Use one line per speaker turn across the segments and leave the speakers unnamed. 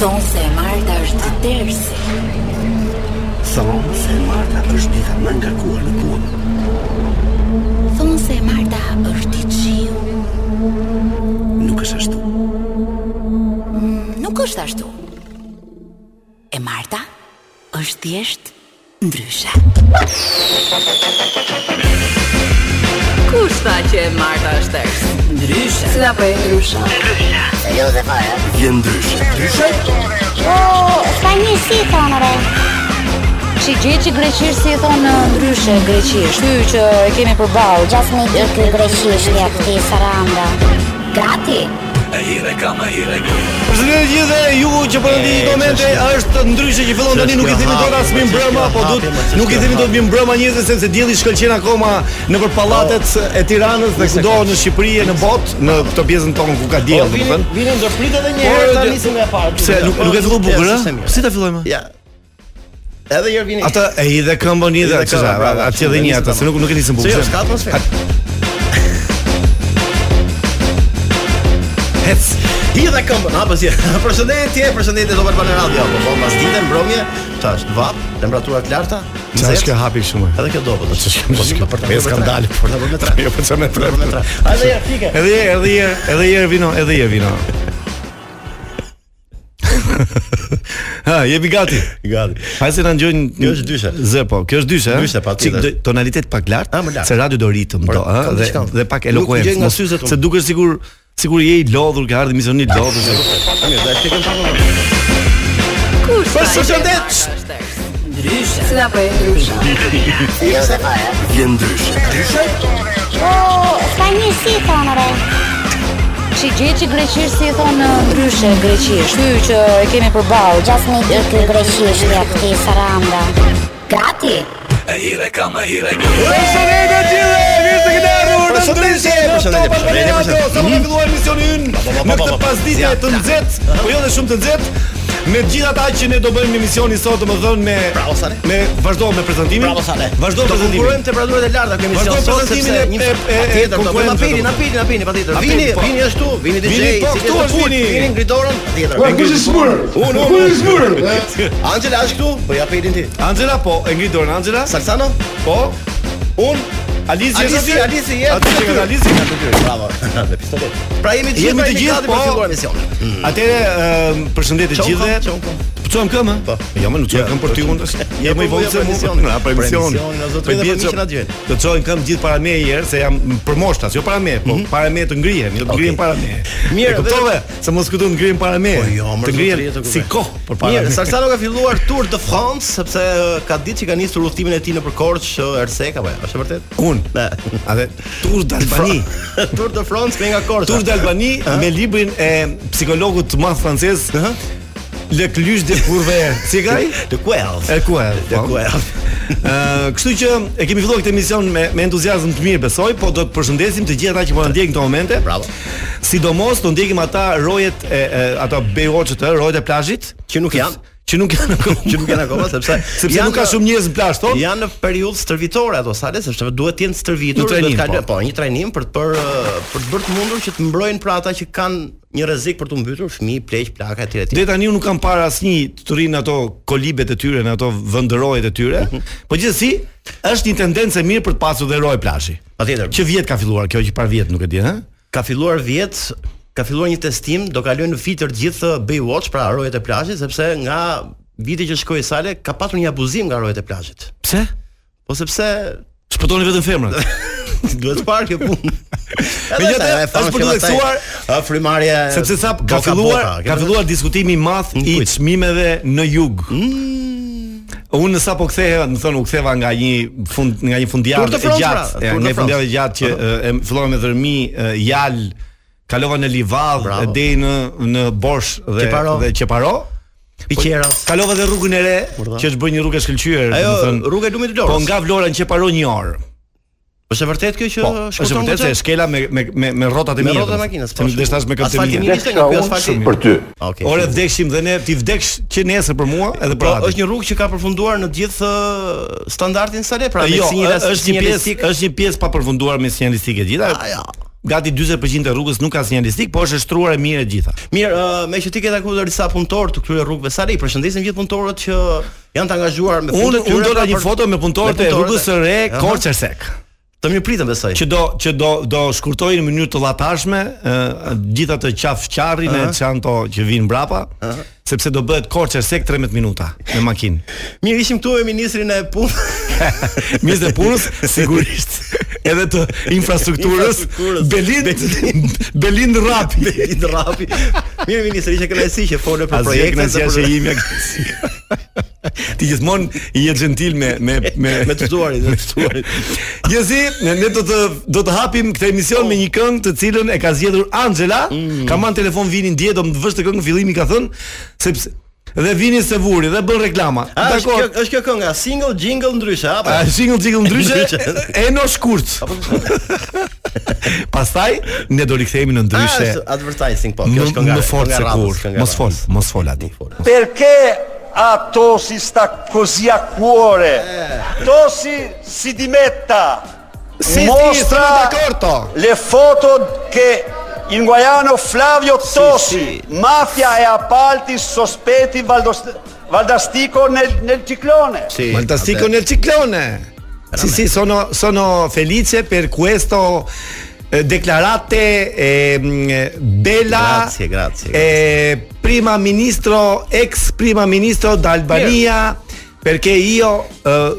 Thonë se e Marta është tërsi
Thonë se Marta është dita më ngarkuar në punë.
Thonë se e Marta është i qiu
Nuk është ashtu.
Nuk është ashtu E Marta është thjesht ndryshe
Kush tha që e Marta është tërës? Ndryshe. Si apo e ndryshe?
Je ndryshe. Ndryshe?
Spani si i thonë re?
Që gjë që greqisht si e thonë ndryshe greqisht. Ky që e kemi përballë.
Gjas me di ky greqisht ja këti saranda. Gati?
E hire ka, e hire ka.
Përshëndetje të gjithëve, ju që po ndini komente është ndryshe që fillon tani nuk i themi dot as mi mbrëmë, po do nuk i themi dot mi mbrëmë njerëzve sepse dielli shkëlqen akoma nëpër pallatet
Po,
e Tiranës dhe kudo në Shqipëri e në botë, në këtë pjesën tonë ku ka diell, domethënë.
Po, Vini do prit edhe një
Por,
herë ta
dhe-
nisim nga e parë.
Pse nuk nuk e fillu bukur,
Ja, s'është
ë?
mirë.
Si ta fillojmë?
Ja. Edhe një herë vini.
Atë e i dhe këmbën i
I
dhe
dhe
çfarë?
këmbën, bravo.
Atje dhe një atë, se nuk nuk e nisëm bukur.
Se jo,
se-
s'ka atmosferë.
Hec.
I dhe këmbën, hapës je. Përshëndetje,
é
përshëndetje Zobel Banë Radio. Po po pas ditën mbrëmje, çfarë është vap, temperatura të larta,
Çfarë
20.
është kjo hapi shumë?
É
Edhe kjo do po. Po
ç'është kjo?
për ta
Me
bërë me
skandal,
tre, për ta bërë me tre.
Jo, po çfarë me tre.
Për ta bërë me tre. Hajde ja fike.
Edhe një, edhe një, edhe një vino, edhe një vino. Ha, jepi gati.
Gati.
Hajde se na ngjojnë.
Kjo është dyshe.
Zë po, kjo është dyshe.
Dyshe, patjetër.
Çik tonalitet pak lart,
Ah, më lart.
se radio do ritëm
Por,
do, ëh,
kam
dhe
diçka.
dhe pak
Nuk
elokuencë.
m'gjen nga
mos-
syzet unë.
Se duket sigur sigur je i lodhur ka ardhur misioni i lodhur. se-
Ah,
Mirë, do të shikojmë pak më vonë.
Kush tha që e
Përshëndet!
Marta është tërës? Ndryshe. Si apo e ndryshe?
é
Je ndryshe. Ndryshe?
Spani si i thonë re?
Që gjë që greqisht si e thonë ndryshe greqisht. Ky që e kemi përballë.
Gjas me di ky greqisht ja këti saranda. Gati?
E hire ka, e hire ka.
Përshëndetje të gjithë, mirë se keni ardhur në ndryshe.
Përshëndetje, përshëndetje,
Top Albania
përshëndetje,
Radio. Sa më ka
Mhm.
filluar emisioni ynë
pa,
në
pa,
këtë
pa, pa.
pasditje
Ja,
të nxehtë, po jo dhe shumë të nxehtë. Me gjithë ata që ne do bëjmë në emisionin sot, domethënë me
Bravo, Sane.
me vazhdo me prezantimin.
Bravo Sale.
Vazhdo
të konkurrojmë
prezantimin.
temperaturat e larta kemi
Vazhdo
sjell sot
prezantimin
sepse
e-
një
e- e- e
tjetër do bëjmë
konkurrencëve,
apelin,
domethënë.
apelin, apelin patjetër.
Apelin,
Vini,
po.
vini ashtu, vini DJ,
Vini, po,
si
këtu
jetë
është
fut,
vini.
Vini ngritorën patjetër.
Ua, kush është smurë?
Unë, unë. Kush është Angela është këtu, po ja apelin ti.
Angela po, e ngrit dorën Angela.
Salsano?
Po. Un Alizi
Alisi,
është aty?
Alisi, je
Aty
aty
që
aty.
ka Alizi.
Ka të dy. Bravo. Me pistolet. Pra jemi të gjithë,
Jemi të gjithë,
po.
po. Atëre ëm, përshëndetje të gjithëve. Pcojm këmë?
Po.
Jo, më nuk çojm
Ja,
këmë për ty unë.
ja,
Je më i
po,
vonë
ja,
se mua.
për
Pra,
emisionin.
Na për
Për
emision.
emisionin, o zotri, edhe për miqin aty vjen.
Do çojm këmë gjithë para me një herë se jam për moshtas, jo para me, po para me të ngrihemi, do të
Okej.
ngrihem para me.
Mhm. Mirë,
E kuptove? Se mos këtu të ngrihem para me.
Po jo,
të
më zotri, e të
ngrihem
kuptoj.
si kohë për para
Mirë,
me.
Salsano ka filluar Tour de France sepse eh, ka ditë që ka nisur udhimin e tij nëpër Korçë, eh, Ersek apo jo? Është e vërtet?
Unë.
Ne.
Atë Tur d'Albani.
Tour de France me nga Korça.
Tur d'Albani me librin e psikologut të madh francez
Aha.
Le Cluj de Courver. Si e ka ai?
De Quelf.
E ku e?
De Quelf.
Ë, kështu që e kemi filluar këtë emision me me entuziazëm të mirë, besoj, po do të përshëndesim të gjithë ata që po na ndjekin këto momente.
Bravo.
Sidomos do ndjekim ata rojet e, e ata bejoçët, ë, rojet e plazhit,
Që nuk janë.
që nuk janë akoma,
Që nuk janë akoma, sepse-
sepse
janë-
nuk ka shumë njerëz në plazh thotë.
Janë në periudhë stërvitore ato sale, sepse duhet të jenë
Në
stërvitur,
trajnim,
duhet të
po.
po. një trajnim për të për për të bërë të mundur që të mbrojnë pra ata që kanë një rrezik për të mbytur fëmijë, pleq, plaka etj etj.
Deri tani unë nuk kam parë asnjë të rinë ato kolibet e tyre, në ato vendërojet e tyre.
Mhm.
Po gjithsesi, është një tendencë e mirë për të pasur dhe roj plazhi.
Patjetër.
Që vjet ka filluar kjo që par vjet nuk e di, ha?
Ka filluar vjet, ka filluar një testim, do kalojnë në fitër të gjithë Baywatch, pra rojet e plazhit, sepse nga viti që shkoi sale ka patur një abuzim nga rojet e plazhit.
Pse?
Po sepse
Shpëtoni vetëm femrat.
duhet të parë kjo punë.
Megjithatë, është për të theksuar,
frymarrje.
Sepse sa ka
boka, boka,
filluar,
kemi
ka filluar diskutimi i madh i
kujt? Mm.
çmimeve në jug. Unë sa po ktheheva, më thonë u ktheva nga një fund nga një
Tour
fundjavë
de
e
France,
gjatë, e,
pra, Tour
nga
de
një
France.
fundjavë e gjatë që e, e fillova me dërmi e, jal, kalova në Livadh
Bravo.
e deri në në Borsh dhe
Qeparo.
dhe Qeparo.
Piqeras.
Kalova dhe rrugën e re,
Urdhë.
që është bërë një rrugë e shkëlqyer,
Ajo
do të thënë.
rruga e lumit të Lorës.
Po nga Vlora në Qeparo një orë.
Është e vërtet kjo që
Po,
shkon
është vërtet se e shkela me me me me rrotat e
me
mia.
rrotat e
domethënë.
makinës. po,
Se nuk desh tash me këtë të
Asfalti
mia.
mirë ishte nga ky asfalti.
shumë po. mirë. Për
ty.
Okej.
Ore pra, vdekshim dhe ne ti vdeksh që nesër për mua edhe për
Po,
atë.
është një rrugë që ka përfunduar në gjithë ë, standardin sa le, pra me
jo,
sinjala
është një pjesë, është një pjesë pa përfunduar me sinjalistikë e gjitha.
ja.
gati 40% e rrugës nuk ka sinjalistik, po është e shtruar e mirë e gjitha.
Mirë, uh, me që ti ke takuar disa punëtorë të këtyre rrugëve sa i përshëndesim gjithë punëtorët që janë të pra, angazhuar me
Unë
punët
unë do ta një foto me punëtorët e rrugës së re
Aha.
Korçersek.
Të mirë pritëm besoj.
Që do që do do shkurtojnë në mënyrë të llatashme ë gjithë atë qafë qarrin e çanto që vijnë mbrapa, sepse do bëhet Korçersek 13 minuta me makinë.
Mirë, ishim këtu me ministrin e punës.
Mirë dhe punës, sigurisht. Edhe të infrastrukturës,
Infrastrukturës.
Belin Belin Rapi.
Belit Rapi. Mirë ministri, ishte kënaqësi që folë për
Asgjë
projekte
kënaqësia që imja. Ti gjithmonë i je gentil me me me
me të tuarit, me të tuarit.
Gjezi, ne, ne do të do të hapim këtë emision me një këngë të cilën e ka zgjedhur Angela.
Mm.
Ka marrë në telefon Vinin dje, do më vësh të këngë fillimi ka thënë, sepse dhe Vini se vuri dhe bën reklama.
A, Ah, është kjo, është kjo kënga single jingle ndryshe apo?
A single jingle ndryshe,
Ndryshe.
e no shkurt. Pastaj ne do rikthehemi në ndryshe.
Ah, është advertising po, kjo
Më
është kënga.
më fort
kënga
se
radhës,
kur.
kënga
Mos fol,
radhës.
mos fol aty.
Perché a Tosi sta così a cuore? Tosi si dimetta, mostra le foto che in Guaiano Flavio Tosi, mafia e appalti sospetti Valdos- Valdastico nel, nel ciclone.
Si.
Fantastico nel ciclone. Sì, sì, sono, sono felice per questo eh, declarate ehm, eh, bella
Grazie, grazie,
eh, prima ministro ex prima ministro d'Albania perché io eh,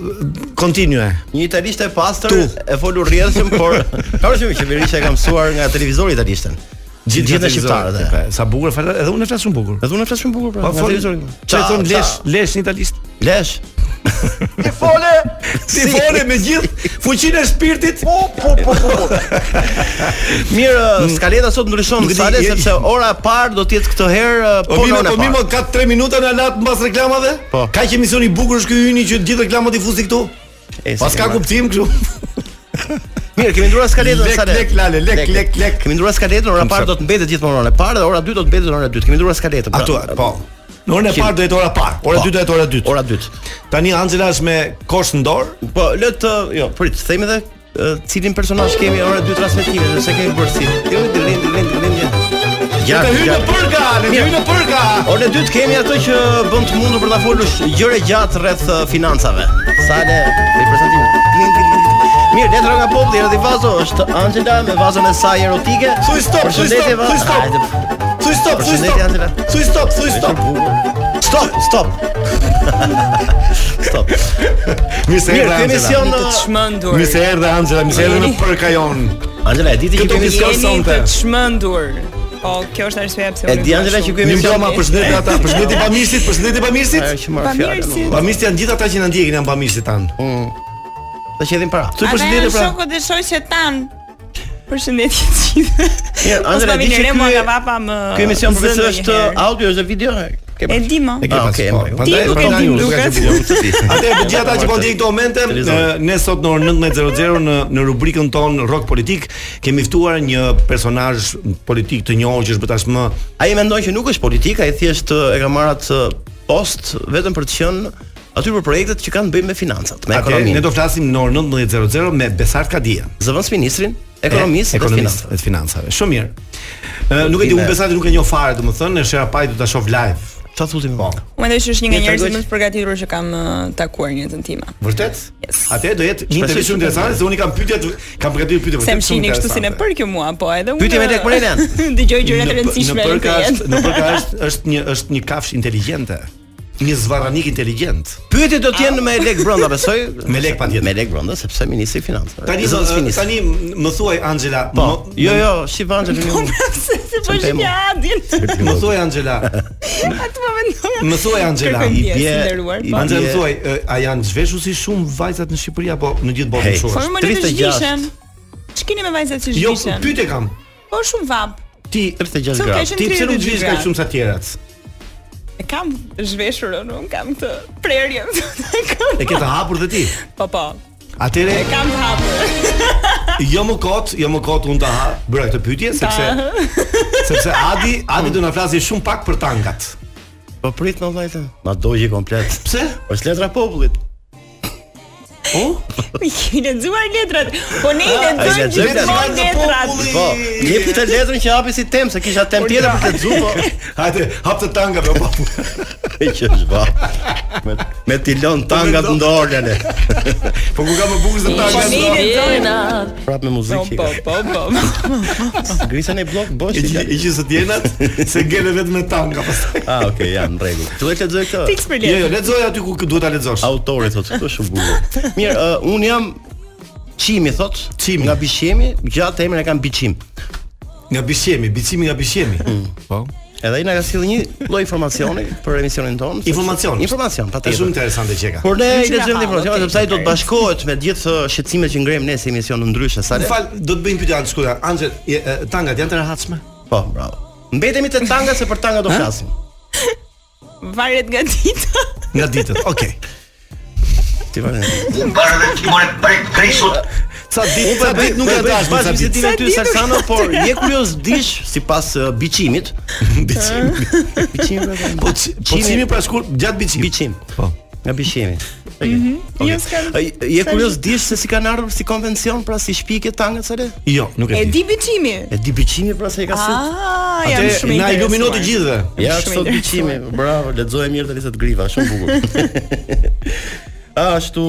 continue.
Një italisht e pastër,
Tu.
e folur rrjedhshëm, por ka shumë qeverisht e ka mësuar nga televizori italishtën. Gjithë gjithë shqiptarët. e.
Pe, pra, Sa bukur, fal- edhe unë e flas shumë bukur.
Edhe unë flas shumë bukur pra.
Po
nga
fol.
televizori.
Çfarë
Qa-
thon
qa-
lesh, lesh në italisht?
Lesh.
Ti folle?
Si fole me gjithë fuqinë e shpirtit.
Pu, pu, pu, pu, pu.
Mirë, skaleta sot ndryshon
Mm. Nuk di,
sale
je-
sepse ora e parë do të jetë këtë herë
Po
po
mimo,
në
po mimo ka 3 minuta na lat mbas reklamave?
Po.
Ka që emisioni i bukur është ky yni që gjithë reklamat i fusi këtu? Pas ka kuptim kështu.
Mirë, kemi ndruar skaletën
Lek,
sale.
lek, lale, lek, lek, lek.
Kemi ndruar skaletën, ora e parë do të mbetet gjithmonë ora e parë dhe ora 2 do të mbetet ora 2. Kemi ndruar skaletën. pra.
Ato, po. Në orën e parë do jetë ora parë. Ora 2
Po.
do jetë ora 2.
Ora 2.
Tani Angela është me kosh në dorë.
Po, le të, jo, prit, themi edhe e, cilin personazh kemi ora 2 transmetime, sepse kemi bërë si. Kemi dilem, dilem, dilem.
Ne të hyjë në përka, ne të
Mirë.
hyjë në përka.
Ora dytë kemi ato që bën të mundur për ta folur sh- gjëre gjatë rreth uh, financave. Sale i prezantimit. Kling, kling, kling. Mirë, letra nga populli Erdi Vazo është Angela me vazon e saj erotike.
Thuj stop, thuj
Përshëndetje,
stop, thuj
va-
stop.
Hajde.
Thuj stop, thuj
Përshëndetje, Angela.
stop. Thuj stop, thuj stop.
Stop, stop. stop.
Mirë uh, se
Mirë,
erdhe
kemi
Angela.
emision
Të çmendur.
Mirë se erdhe Angela, mirë se erdhe në përka jon.
Angela, e ditë që
Këto
kemi
emision
emision
Jeni të
sonte.
çmendur. Po, kjo është arsyeja pse
E
unë.
di Angela që ky
Një
emision
mbroma, përshëndetje ata, përshëndetje pamirësit, përshëndetje pamirësit.
Ajo që marr fjalën.
Pamirësit.
Bamirësit janë gjithë ata që na ndjekin janë bamirësit tan.
Ah.
Sa që hedhin para.
Thuaj përshëndetje pra.
Shokët e shoqet tan. Përshëndetje të gjithëve.
Mirë,
Mos pa
Angela, e di
minire, mua
që
nga vapa më.
ky emision përveç
zënë
është
njëherë.
audio, është dhe video. Ke
E
pas-
di më.
E ke
Ah,
pas.
okay,
po,
e mbaj.
prandaj-
Ti nuk e
prandaj
di,
unë s'ka
Lukas.
që bëjam, se di. Atë e bëj ata që po ndjek këto momente,
Televizor.
në- ne sot në orën 19:00 në në rubrikën tonë Rock Politik kemi ftuar një personazh politik të njohur që është bërë tashmë
Ai mendon që nuk është politika, ai thjesht ë, e ka marrë atë uh, post vetëm për të qenë aty për projektet që kanë të bëjnë me financat, me
Atëherë ne
ekonominë.
do flasim në orën 19:00 me Besart Kadia.
Zëvendës ministrin, ekonomisë dhe
ekonomist
financave.
e financave. Shumë mirë. Ë, Nuk e di, unë Besartin nuk e njoh fare, domethënë, e shera paj do ta shoh live.
Çfarë thotë
Po.
më?
Unë mendoj se është një nga
Mirë,
njerëzit
tregoj.
më të përgatitur që kam eh, takuar në jetën time.
Vërtet?
Yes.
Atë do jetë një intervistë shumë interesante, se unë i kam pyetje, të- kam përgatitur
Se
pyetje vërtet.
më
shumë
shini kështu si në
interesante.
për kjo mua, po edhe unë.
Pyetje me lek Morelen.
Dëgjoj gjëra të
Në-
rëndësishme
Në
në
përka
këtë
është,
jetë.
në përka është është një është një kafsh inteligjente. Një zvarranik inteligjent.
Pyetjet do të jenë me lek brenda, besoj.
Me lek, patjetër.
Me lek brenda sepse ministri i financave.
Tani
Zëvendës
zë-
ministri.
tani më thuaj Angela,
Po,
më-
jo, jo, si vanje një.
Se se po
temo.
shkja adin.
Më thuaj Angela.
Atë po mendoja.
Më thuaj Angela,
Kërkoj
i
ndjesë,
bje-
nderuar,
i
po.
Angela më
Je-
thuaj, e, a janë zhveshur si shumë vajzat në Shqipëri apo në gjithë botën
Hey.
kështu
Po
është?
më le të
36.
zhvishen. Ç'keni me vajzat që
Jo,
zhvishen?
pyetje kam.
Po shumë vap.
Ti
36
Cuk,
gradë.
ishin
ti pse nuk
32
zhvish kaq
gradë.
shumë sa tjerat?
E kam zhveshur unë, unë kam këtë prerje.
E ke të hapur dhe ti.
Po po.
Atëre
E kam hapur.
Jo më kot, jo më kot unë ta ha bëra këtë pyetje sepse sepse Adi Adi do na flasi shumë pak për tankat.
Po prit në vllajtë. Ma dogji komplet.
Pse?
Është letra e popullit.
Mi ke lexuar letrat. Po ne i
Ai,
lexojmë
lexoj
gjithmonë
letrat.
letrat.
Po, jepi të letrën që hapi si temë se kisha temë tjetër për të lexuar, po
Hajde, hap të tanga po.
e që është ba. Me me tilon tangat në dorë ale.
Po ku ka më bukur se
Po
tanga.
ne i lexojmë.
Prap me
Po
muzikë.
po po po.
Grisa në blok bosh.
I gjë- I gjithë së tjenat se ngele vetëm me tanga pastaj.
Ah, okay, jam në rregull. Duhet të lexoj këtë.
Fiks për
Jo, jo,
letrat.
lexoj aty ku ku duhet ta lexosh.
Autori thotë, "Kjo është shumë bukur." Mirë, ë, un jam Çimi thot,
Çimi.
nga Bishemi, gjatë emrin e kam Biçim.
Nga bishemi, bicimi nga bishemi. Po.
Edhe ai na ka sjellë një lloj informacioni për emisionin tonë. sepse-
Informacion.
Informacion,
Është
patjetër.
shumë interesante që e ka.
Por ne i
Që
lexojmë
nga hall,
dhe informacion,
okay,
sepse ai do të
fair.
bashkohet me gjithë ë, shqetësimet që ngrem ne si emision në ndryshe, sa
Më
le.
fal, do të bëjmë pyetje anë skuadra. Anxhel, je- e, tangat janë të rehatshme?
Po, bravo. Mbetemi te tanga se për tanga do flasim.
Varet nga dita.
Nga ditët. Okej.
Ti vjen.
Ca ditë, ca ditë nuk ja dash me
pas
ca ditë.
bisedin aty
Sa ditë
Salsano,
nuk-
por je kurioz dish sipas ë, biçimit.
Biçim.
Biçimi.
Po ci- po cimi pra shkur gjatë biçim.
Biçim.
Po.
Nga biçimi.
Jo s'ka.
Je kurioz dish se si kanë ardhur si konvencion pra si shpike tangat sa le?
Jo, nuk
E
e di.
di biçimi.
E di biçimi pra se e ka sill.
Ah, jam
Atë
shumë i
na ilumino të gjithëve.
Ja,
Shumë
sot
interesuar.
biçimi, bravo, lexoje mirë të listat griva, shumë bukur. Ashtu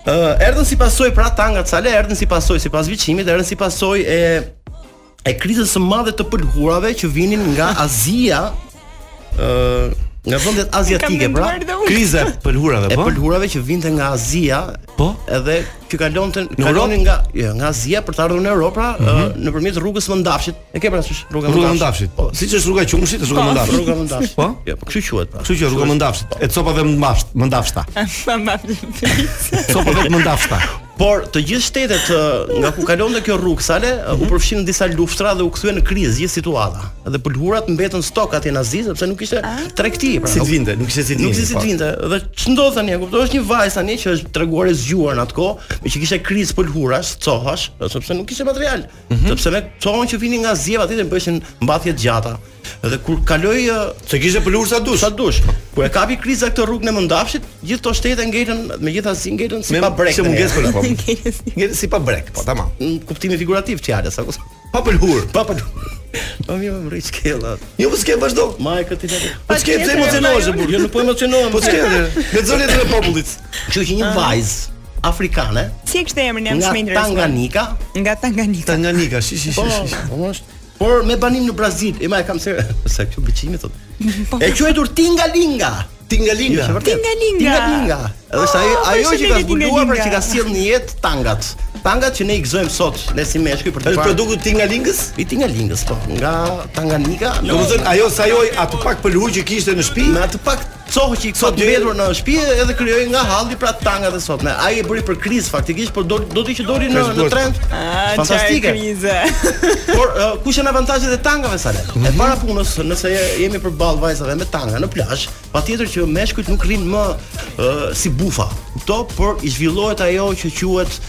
ë erdhën si pasojë pra tangat sale, erdhën si pasojë sipas biçimit, erdhën si pasojë e e krizës së madhe të pëlhurave që vinin nga Azia, ë nga vendet aziatike, pra.
menduar dhe unë.
Kriza e pëlhurave,
E
po?
pëlhurave që vinte nga Azia,
Po?
edhe që kalonte
Europë?
kalonin nga jo, nga Azia për të ardhur në Europë, pra, ë, nëpërmjet rrugës Mëndafshit. E ke parasysh rruga
Rruga
Mëndafshit?
Mëndafshit.
Po,
Siç është rruga e Qumshit, është rruga Mëndafshit.
rruga Mëndafshit.
Po?
Jo, po kështu quhet pra.
Kështu që rruga Mëndafshit. E copave Mëndafshit, Mëndafshta. Copave Mëndafshta.
Por të gjithë shtetet ë, nga ku kalonte kjo rrugë sale ë,
Mhm.
u përfshin në disa luftra dhe u kthyen në krizë gjithë situata. Dhe pëlhurat mbetën stok atje në Azi sepse nuk ishte
Ah.
tregti. Pra,
Si të vinte, nuk ishte si të
Nuk si si
po.
të vinte. Dhe ç'ndodh tani, e kupton, është një vajzë tani që është treguar e zgjuar në atë kohë, me që kishte krizë pëlhurash, cohash, sepse nuk kishte material. Sepse me cohën që vinin nga Zieva aty dhe bëheshin mbathje të gjata. Dhe kur kaloi ë,
Se
é
kishte pëlhur sa dush.
sa dush, kur e kapi kriza këtë rrugën e Mëndafshit, gjithë to shtete ngelën, megjithatë ngelën si
Me
pa brek.
se
tani.
mungesë për po. Ngjet si pa brek, po tamam.
në kuptimin figurativ të fjalës apo
Pa pëlhur.
pa pa. Po mirë më rrit skella.
Jo po s'ke vazhdo.
Ma e këtë tjetër.
Po s'ke pse emocionohesh burr.
Jo nuk po emocionohem.
Po s'ke. Lexo letrën e popullit.
Kështu që një vajzë afrikane
Si e kishte emrin Ah. jam
nga
shumë i interesuar.
Tanganika,
Nga Tanganika.
Tanganika, shi shi shi.
po
shi.
po është por me banim në Brazil. E ma e kam se sa këtu biçimi thotë. E quajtur Tingalinga.
Tingalinga.
Është vërtet.
Tingalinga.
Tingalinga. Edhe është ajo
Oh, po
ajo
ishte
që ka
lele
zbuluar pra
Tingalinga.
që ka sjellë në jetë tangat. Tangat që ne i gëzojmë sot, ne si meshkuj për të
Është
parë.
produkti i Tingalingës?
i Tingalingës, po, nga Tanganika. në-
Domethënë ajo sa ajo atë pak pëlhur që kishte në shtëpi,
Me atë pak cohë që i ka
deri-
mbetur në shtëpi edhe krijoi nga halli pra tanga dhe sot. Ne ai e bëri për krizë faktikisht, por do do të që doli në
Ka
në
zburt.
trend.
Ah,
Fantastike.
çfarë krize.
Por uh, kush janë avantazhet e tangave sa le?
Mhm.
E para punës, nëse je- jemi përballë vajzave me tanga në plazh, patjetër që meshkujt nuk rrin më uh, si bufa. Kupto, por i zhvillohet ajo që quhet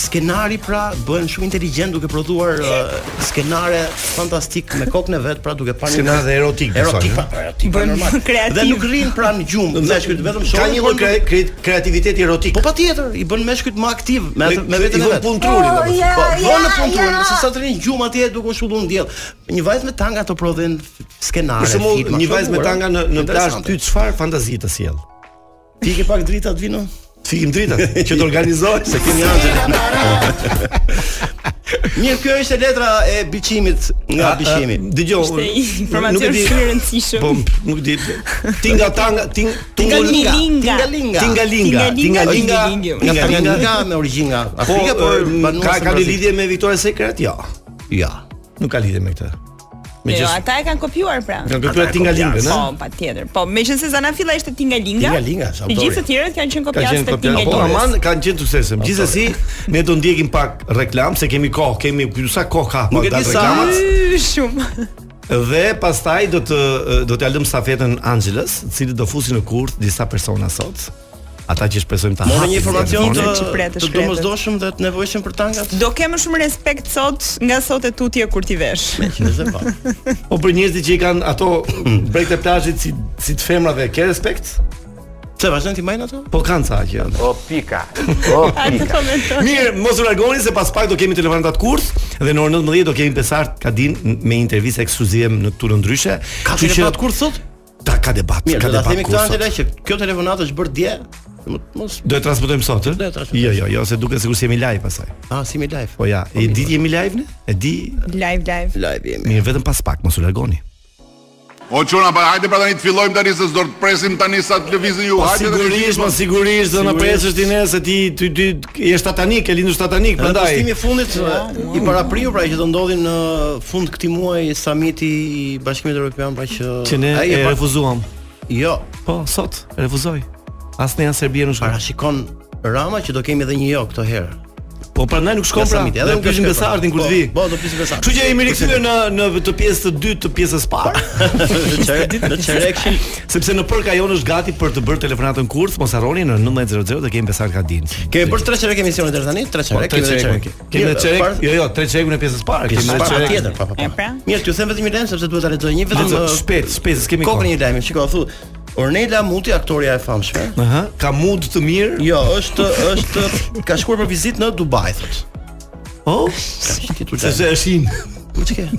skenari pra bëhen shumë inteligjent duke prodhuar uh, skenare fantastik me kokën e vet pra duke parë një-
Skenare erotik,
erotik
besoj,
pa, erotik
Bën
pa, normal
kreativ.
dhe nuk rrin pra në gjumë meshkujt vetëm shohin
ka një lloj
por
kre-
nuk-
kre- kreativiteti erotik.
Po patjetër, i bën meshkujt më aktiv me atë me
i
veten e
vën
vet.
punë trurin, domethënë.
Po, vonë në punë trurin, se sa të rinë gjumë atje duke u shulluar në diell. Një vajzë me tanga ato prodhen skenare.
Për shembull,
filma,
një
shumë
vajzë me
bura.
tanga në në plazh
Interesante.
ty çfarë fantazi të sjell?
ti ke pak drita të vino?
Fikim dritën që të organizohet se kemi
Mirë, kjo ishte letra e biçimit nga biçimi.
Dgjoj.
Ishte
unë-
një informacion
nuk e di-
shumë i rëndësishëm.
Po, nuk di. Tinga tanga, ting
Tingalinga. Tingalinga.
Tingalinga.
Tingalinga,
Tingalinga.
tingalinga,
Nga
Tingalinga.
Tanganika me origjinë nga
Po,
Afrika, por
e,
banuese
ka ka
në
një
Brazil.
lidhje me Victoria's Secret? Jo.
Ja.
Nuk ka lidhje me këtë.
Jo,
Megjithëse
ata e kanë kopjuar pra.
kanë kopjuar Tingalingën,
Po,
ëh?
patjetër. Po, meqense Zanafilla ishte Tingalinga.
Tingalinga, është
Të
autori.
gjithë të tjerët kanë qenë
Ka
kopjas
qenë
të
kopja. Po,
Tingalingës.
aman kanë qenë suksesëm. Gjithsesi, ne do ndjekim pak reklam se kemi kohë, kemi sa kohë ka.
Nuk
pa
e di
dalë
sa.
reklamat.
Yy, Shumë.
Dhe pastaj do të do t'ja lëm stafetën Angelës, i cili do fusi në kurth disa persona sot. Ata që shpresojmë ta
Morë
hapin
një informacion të
telefonin.
që pretë,
të
shkretet.
domosdoshëm dhe të nevojshëm për tangat.
Do kemë shumë respekt sot nga sot e tutje kur ti vesh.
Nëse pa.
po për njerëzit që i kanë ato brekët e plazhit si si të femrave, ke respekt?
Çe vazhdon ti mbajnë ato?
Po kanë ca që.
O pika. O
Atë
pika.
komentoj.
Mirë, mos u largoni se pas pak do kemi telefonat kurs dhe në orën 19 do kemi Besart Kadin me intervistë ekskluzive në turë ndryshe.
Ka
Kështu
telefonat kur sot?
Ta ka debat,
Mirë,
ka
do ta
debat.
themi këtë
kurth sot.
Angela që kjo telefonat është bërë dje. Mos
Do e transmetojmë sot, ë?
Do e transmetojmë
Jo, jo, jo, se duket sikur se jemi live pasaj.
ah si mi live.
Po ja, e di jemi live ne? E di,
Live live.
Live jemi.
mirë vetëm pas pak, mos u largoni.
O çuna, pa hajde pra tani të fillojmë tani se do të presim tani sa të lëvizin ju.
Po
hajde tani.
sigurisht, po sigurisht, do na presësh ti ne se ti ti ti je tatanik, e lindur tatanik,
Prandaj
prandaj.
postimi i fundit e, i parapriu pra që do ndodhin në fund këtij muaji samiti i Bashkimit Evropian pra që
Që ne
Ai
e
pa-
refuzuam.
Jo,
Po, sot refuzoj. Asnjë as Serbia nuk shkon.
parashikon Rama që do kemi edhe një jo këtë herë.
Po prandaj nuk shkon
Nga
pra.
samiti,
Edhe
nuk
nuk pysim
shkon,
Besartin kur
po,
të vi.
Po, do pyesim Besartin.
Kështu që jemi rikthyer në në të pjesë të dytë të pjesës parë,
Çfarë ditë në Çerekshin?
sepse në përka jonë është gati për të bërë telefonatën kurth, mos harroni në 19:00 të kemi Besart Kadin.
Kemi bërë tre çerek emisione deri tani, tre
Po,
çerek,
tre
kemi edhe
çerek.
çerek.
Kemi edhe
Mirë,
çerek.
par-
Jo, jo, tre çerekun e pjesës parë.
Pjesë
Kemi
parë,
çerek.
tjetër, pa pa. pa.
E pra?
Mirë, t'ju them vetëm një lajm sepse duhet ta lexoj një vetëm
Vetëm
ë,
shpejt, shpejt, s'kemi
kokën
kohë.
një lajmi. Shikoj, thu Ornella Muti, aktoria e famshme.
Aha, ka mood të mirë.
Jo, është është ka shkuar për vizitë në Dubai, thotë.
Oh,
Kaq titull.
sepse është in.
Po ç'ke?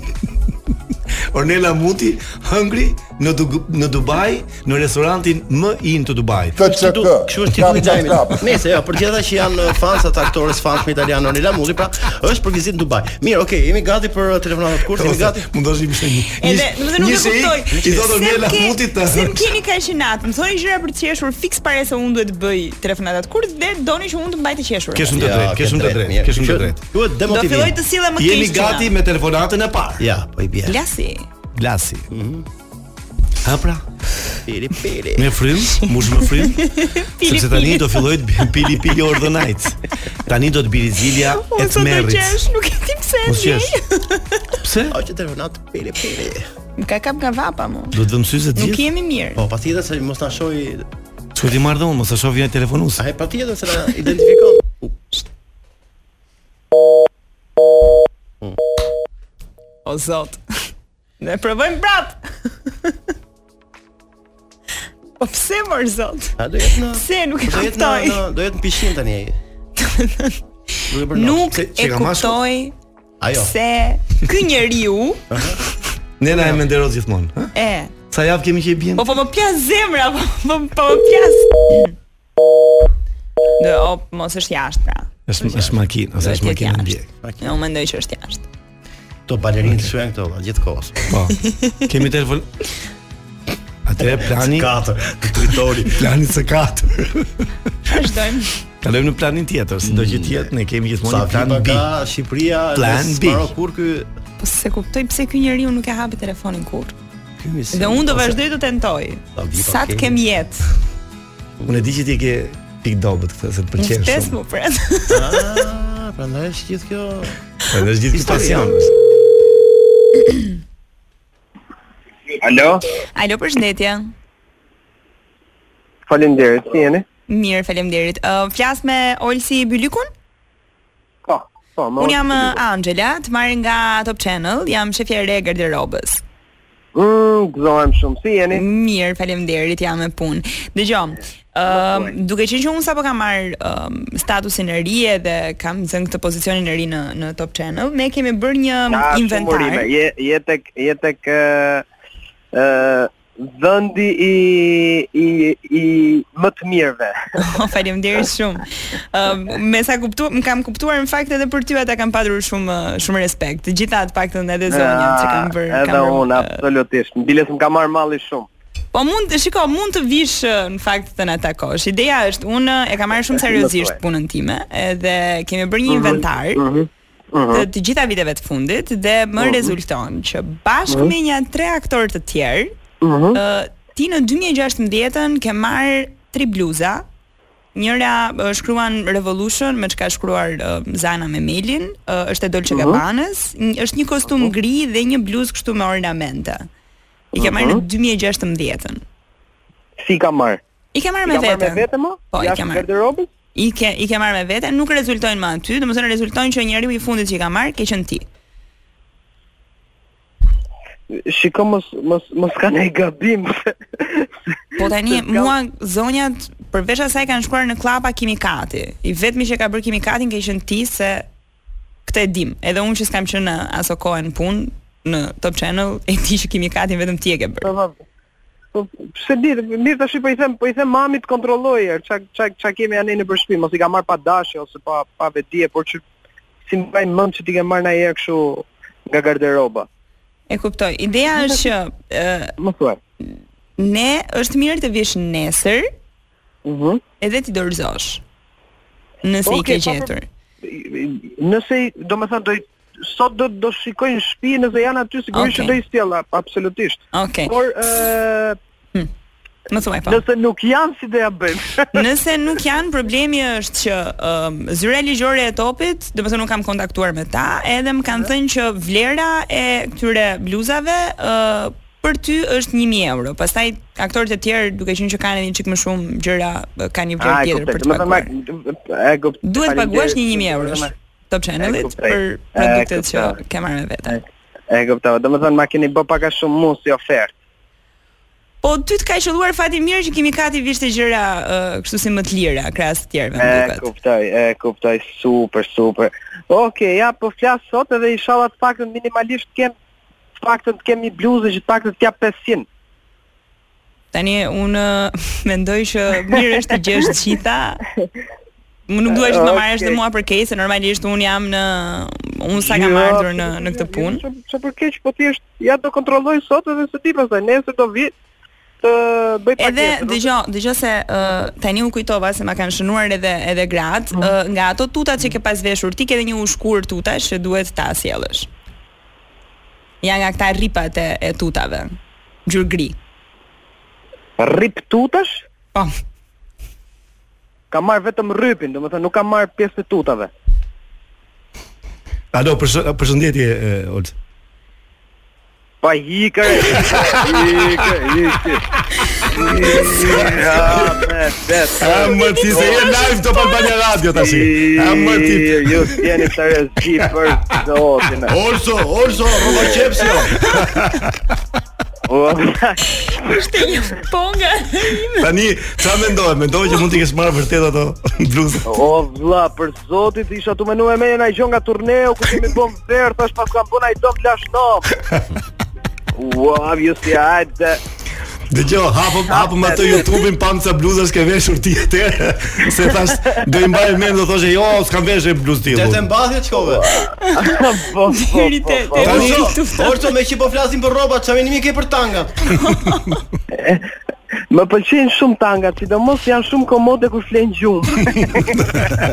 Ornella Muti, hungry në Dug- në Dubai, në restorantin më in të Dubait.
Kështu
KCK.
kështu është titulli i
Kap, kap,
lajmit.
kap.
Nëse jo, për gjithë ata që janë fans ata aktorës famshme italiane Ornella Muti, pra është për vizitë në Dubai. Mirë, okay, jemi gati për telefonatën e kurtë, jemi gati.
mundosh i bishë një.
Edhe,
një-
do të thënë nuk
një
e
shik,
kuptoj.
I thotë Ornella
Se m'ke-
Muti të
Se më keni kaq natë, më thoni gjëra për të qeshur fiks para se unë duhet të bëj telefonatat kur dhe doni që unë të mbaj të qeshur.
Ke shumë të
Ja,
drejtë, ke
ke
shumë të drejtë,
mirë.
ke shumë të
Kështu-
drejtë.
Duhet
Do
demotivim.
filloj të sillem më keq.
Jemi gati me telefonatën e parë.
Ja, po i bie.
Lasi.
Glasi. Ha pra,
Piri piri.
me frym, mush me frym. Sepse tani do filloj të bi- pili pili or the night. Tani do të biri zilja e të
Unë Po, sot do
merrit.
qesh, nuk e di pse.
Po,
Mos
ndjej.
qesh. Pse?
O që telefonat piri piri.
Më ka kap nga vapa mu.
Do të vëm sy se të
Nuk
gjithë.
jemi mirë.
Po patjetër se mos na shohi,
Çu ti marr dhon, mos e shoh vjen telefonues.
ai patjetër se na identifikon. U,
O zot. Ne provojmë prap. Po pse mor zot?
A do jetë në
Pse nuk e
Po, do jetë në,
kuptoj?
në do jetë në pishin tani ai. Duke bërë
Nuk
natë.
që
e
ka masku?
kuptoj
Po. ajo.
pse ky njeriu
Ne na e menderos gjithmonë, ha?
e
Sa javë kemi që i bien?
Po po më pjas zemra, po po, po më pjas. Do, o, mos është jashtë pra.
Është është makinë, ose është
Duhet
makinë e
jetë jashtë.
ndjek.
Unë mendoj që është jashtë.
To balerinë të shuen këto valla gjithkohës.
Po. Kemi telefon. Atëre plani,
Katër, tritori.
plani së katër.
Vazhdojmë.
Kalojmë në planin tjetër, sido që të jetë, ne kemi gjithmonë
Sa
një plan
plan
B.
ka Shqipëria,
Plan B.
Sparo kur ky
Po se kuptoj pse ky njeriu nuk e hapi telefonin kur.
ky misi.
Dhe unë do vazhdoj të tentoj.
Ta vi,
Sa
okay.
të kem jetë.
Unë e di që ti ke pik dobët këtë se të
Një
pëlqen
ftes
shumë.
mu pret.
Ah, prandaj është gjithë kjo.
Edhe është gjithë pasion.
Alo,
Alo, përshëndetje.
faleminderit. Si jeni?
Mirë, faleminderit. Ë flas me Olsi Bylykun?
Po, po, më.
Unë jam ë, Angela, të marrë nga Top Channel, jam shefja e re e garderobës.
Mm, gëzohem shumë. Si jeni?
Mirë, faleminderit, jam me punë. Dgjoj. Ëm duke qenë që unë sapo kam marr um, statusin e ri dhe kam zënë këtë pozicionin e ri në në Top Channel, ne kemi bërë një
Ka shumë
inventar.
urime. Je je tek je tek ë ë vendi i i i më të mirëve.
Oh, faleminderit shumë. Ëm me sa kuptuam, më kam kuptuar në fakt edhe për ty ata kam patur shumë ë, shumë respekt. Të gjitha të paktën edhe zonjën që kam bërë.
Edhe
kam bërë,
unë
ë,
absolutisht. Bile s'm ka marr malli shumë.
Po mund të shiko, mund të vish ë, në fakt të na takosh. Ideja është unë e kam marrë shumë seriozisht punën time, edhe kemi bërë
Mhm,
një inventar. Të, të gjitha viteve të fundit dhe më
Mhm.
rezulton që bashkë me një tre aktorë të tjerë,
Mhm.
ë, ti në 2016-ën ke marr tri bluza. Njëra ë, shkruan Revolution me çka shkruar ë, Zana me Melin, ë, është e Dolce Gabbanës, një- është një kostum gri dhe një bluzë kështu me ornamente. I ke marrë në 2016-ën.
Si ka marr?
I ke marrë
Ka
me
marr me
veten.
vete më?
Po, i
Jashtë
ke marrë.
garderobës?
I ke i ke marrë me veten, nuk rezultojnë më aty, domethënë rezultojnë që njeriu i fundit që i ka marrë ke qenë ti.
Shiko mos mos mos ka ne gabim.
Po tani mua zonjat përveç asaj kanë shkuar në klapa kimikati. I vetmi që ka bërë kimikatin ke qenë ti se këtë e dim. Edhe unë që s'kam qenë në aso kohë në punë në Top Channel, e di që kimikatin vetëm ti e ke bërë.
Po, Po pse mirë, mirë tash po i them, po i them mamit kontrolloj er, çka çka çka kemi anë në për shtëpi, mos i ka marr pa dashje ose pa pa vetdije, por që si mbaj mend që ti ke marr ndajherë kështu nga garderoba.
E kuptoj. Ideja është që ë
Më thuaj.
ne është mirë të vish nesër,
Mhm.
edhe ti dorëzosh. Nëse i
Okej,
ke
pa
gjetur.
Nëse do të thënë do i- sot do do shikojnë shtëpi nëse janë aty sigurisht që
Okej.
do i sjella absolutisht.
Okej.
Por ë
Më thuaj po. pa.
nëse nuk janë si do ja bëjmë.
Nëse nuk janë, problemi është që um, zyra ligjore e topit, do të thonë nuk kam kontaktuar me ta, edhe më kanë thënë që vlera e këtyre bluzave uh, për ty është 1000 euro. Pastaj aktorët e tjerë, duke qenë që kanë një çik më shumë gjëra, uh, kanë një
Ah,
vlerë
e
tjetër
kuptoj.
për
Do
të
të thënë
paguar.
ma- e kuptoj.
Duhet paguash një 1000 eurosh
Faleminderit.
Top
E
Channelit
kuptoj.
për
E
produktet që
kuptoj.
ke marrë me vete.
E kuptova. Do të thënë ma keni bë pak a shumë mua si ofertë.
Po ty të ka qelluar fati mirë që kimikati vishte gjëra uh, kështu si më të lira krahas të tjerëve, më
E
duket.
kuptoj, e kuptoj, super, super. Okej, ja, po flas sot edhe inshallah të paktën minimalisht kem të paktën të kem një bluzë që të paktën të jap 500.
Tani unë ë, mendoj që mirë është të gjesh të gjitha. Më nuk duhet që të më marrësh dhe
Okej.
mua për se normalisht unë jam në unë sa kam
Jo,
ardhur në në këtë punë.
Ço- Ço për keq, po thjesht ja do kontrolloj sot edhe se ti pastaj nesër do vi të bëj pak
Edhe
tjetër.
dëgjoj, dëgjoj se ë, tani u kujtova se ma kanë shënuar edhe edhe gratë, ë, nga ato tutat që ke pas veshur ti ke edhe një ushkur tutash që duhet ta sjellësh. Ja nga këta rripat e, e tutave. Gjyrë gri.
Rrip tutash?
Po.
Ka marr vetëm rrypin, domethënë nuk ka marr pjesë të tutave.
Alo, përsh- përshëndetje e, Olta.
Pa hikër, hikër, hikër. Ja, me, bet.
A më ti se je live Top Albania Radio tash. A më ti.
Ju jeni të rëzgji për zotin.
Orso, orso, rroba qepsi. jo.
O,
Ishte një ponga.
Tani çfarë mendoj? Mendoj që mund të kesh marrë vërtet ato bluzë.
o vlla, për zotit isha tu menua me na gjon nga turneu ku kemi bën verë, thash pas kam bën ai dom lash nom. Ua, ju si hajde.
Dëgjoj, hapëm hapëm atë YouTube-in pam ca bluzash ke veshur ti atëherë, se thash do i mbaj mend do thoshe jo, s'kam veshë bluzë
Te të
tillë.
mbathje çkove.
Po, po, po,
Deri te-
po.
te-
Tani,
Orso, tufta.
orso me që po flasim për rroba, çfarë menimi ke për tangat?
Më pëlqejnë shumë tangat, sidomos janë shumë komode kur flen gjumë.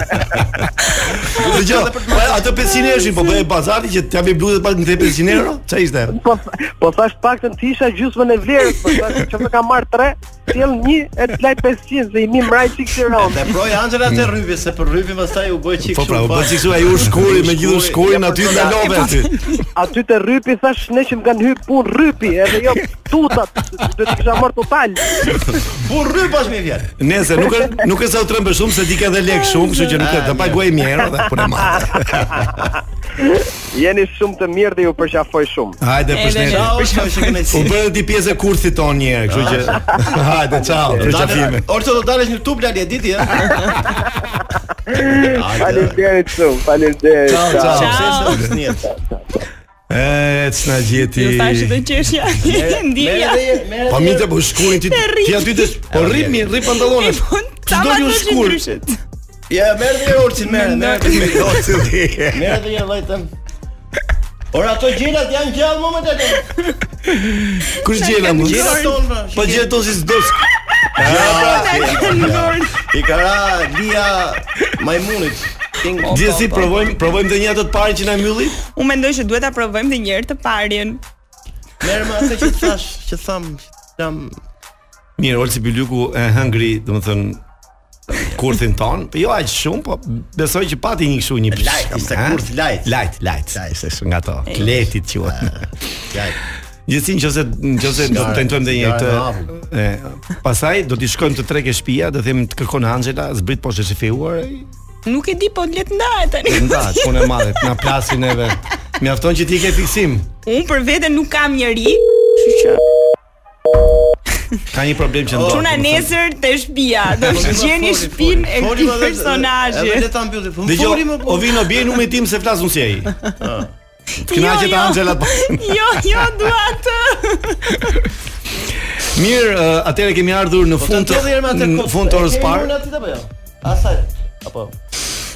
Dëgjoj, pa- ato 500 euro po bëhej bazari që t'ja bëj bluzë pas në 500 euro? Çfarë ishte?
Po, po thash paktën të isha gjysmën e vlerës, po thash që më ka marr 3, sjell një e të laj 500 dhe i mi mraj çik
Dhe
Tiranë.
proj Angela te rrypi, se për rrypin pastaj u bë çik
Mm. Po pra, u bë
fat.
siksu ai u shkuri me gjithë shkurin aty nga love aty.
Aty te rrypi thash ne që më kanë hyrë punë rrypi, edhe jo tutat, do të kisha marr total.
Po rrypash me fjalë.
Nëse nuk është nuk është sa u trembë shumë se di ke edhe lek shumë, kështu që nuk e të paguaj mirë dhe punë madhe.
Jeni shumë të mirë dhe ju përqafoj shumë.
Hajde përshëndetje.
Ciao, orso që kanë
U
si.
bërë ti pjesë e kurthit ton një herë, kështu që hajde ciao, për qafime.
Orso do dalesh në tub lali e diti, ha?
Faleminderit shumë, faleminderit.
Ciao, ciao.
Ciao. Ciao.
E, s'na gjeti.
Ju thashë të qeshja. Ndjeja.
Po mi të po shkurin ti.
rri.
Ti aty të s- po rri mi, rri pantallone.
Po, ta
Çdo
ma
gjë
të
shkur.
ndryshet.
Ja, merr dhe orcin, merr, merr. merr.
Losi ti.
Merë dhe një lojtëm Ora ato gjelat janë gjallë më më të të
Kush gjela mund?
Gjelat tonë pra
Po gjeto si s'do. s-
I kara lia majmunit King
Dje si
po.
provojmë, provojmë të një ato të parë që na mbylli?
Unë mendoj që duhet ta provojmë edhe një herë të parjen.
Merë më atë që thash Që tham Jam
Mirë, Olsi Bylyku e hëngri, domethënë kurthin ton, po jo aq shumë, po besoj që pati një kështu një
Light, ishte
Ha?
kurth light.
Light, light. Ishte shumë nga ato. Kletit quhet. Gjithsesi nëse nëse do të tentojmë edhe një
Jare
këtë.
në avull.
E, pastaj do t'i shkojmë të trekë shtëpia, do them të kërkon Angela, zbrit poshtë e shifeuar.
Nuk e di po le të ndahet tani.
Nda, punë e madhe, na plasin neve. Mjafton që ti ke fiksim.
Unë për veten nuk kam njerëj, kështu që
Ka një problem që ndodh.
Çuna nesër te shtëpia, do të gjeni shtëpinë e këtij personazhi.
Edhe le ta mbyllim. Po
Dëgjoj,
foli më po.
Ovino bie numrin tim se flas unë si ai.
Jo,
Kënaqet
jo.
Angela.
Jo, jo, dua atë.
Mirë, ë, atëherë kemi ardhur në
Po,
fund të në fund të orës parë.
jo? Asaj. Apo.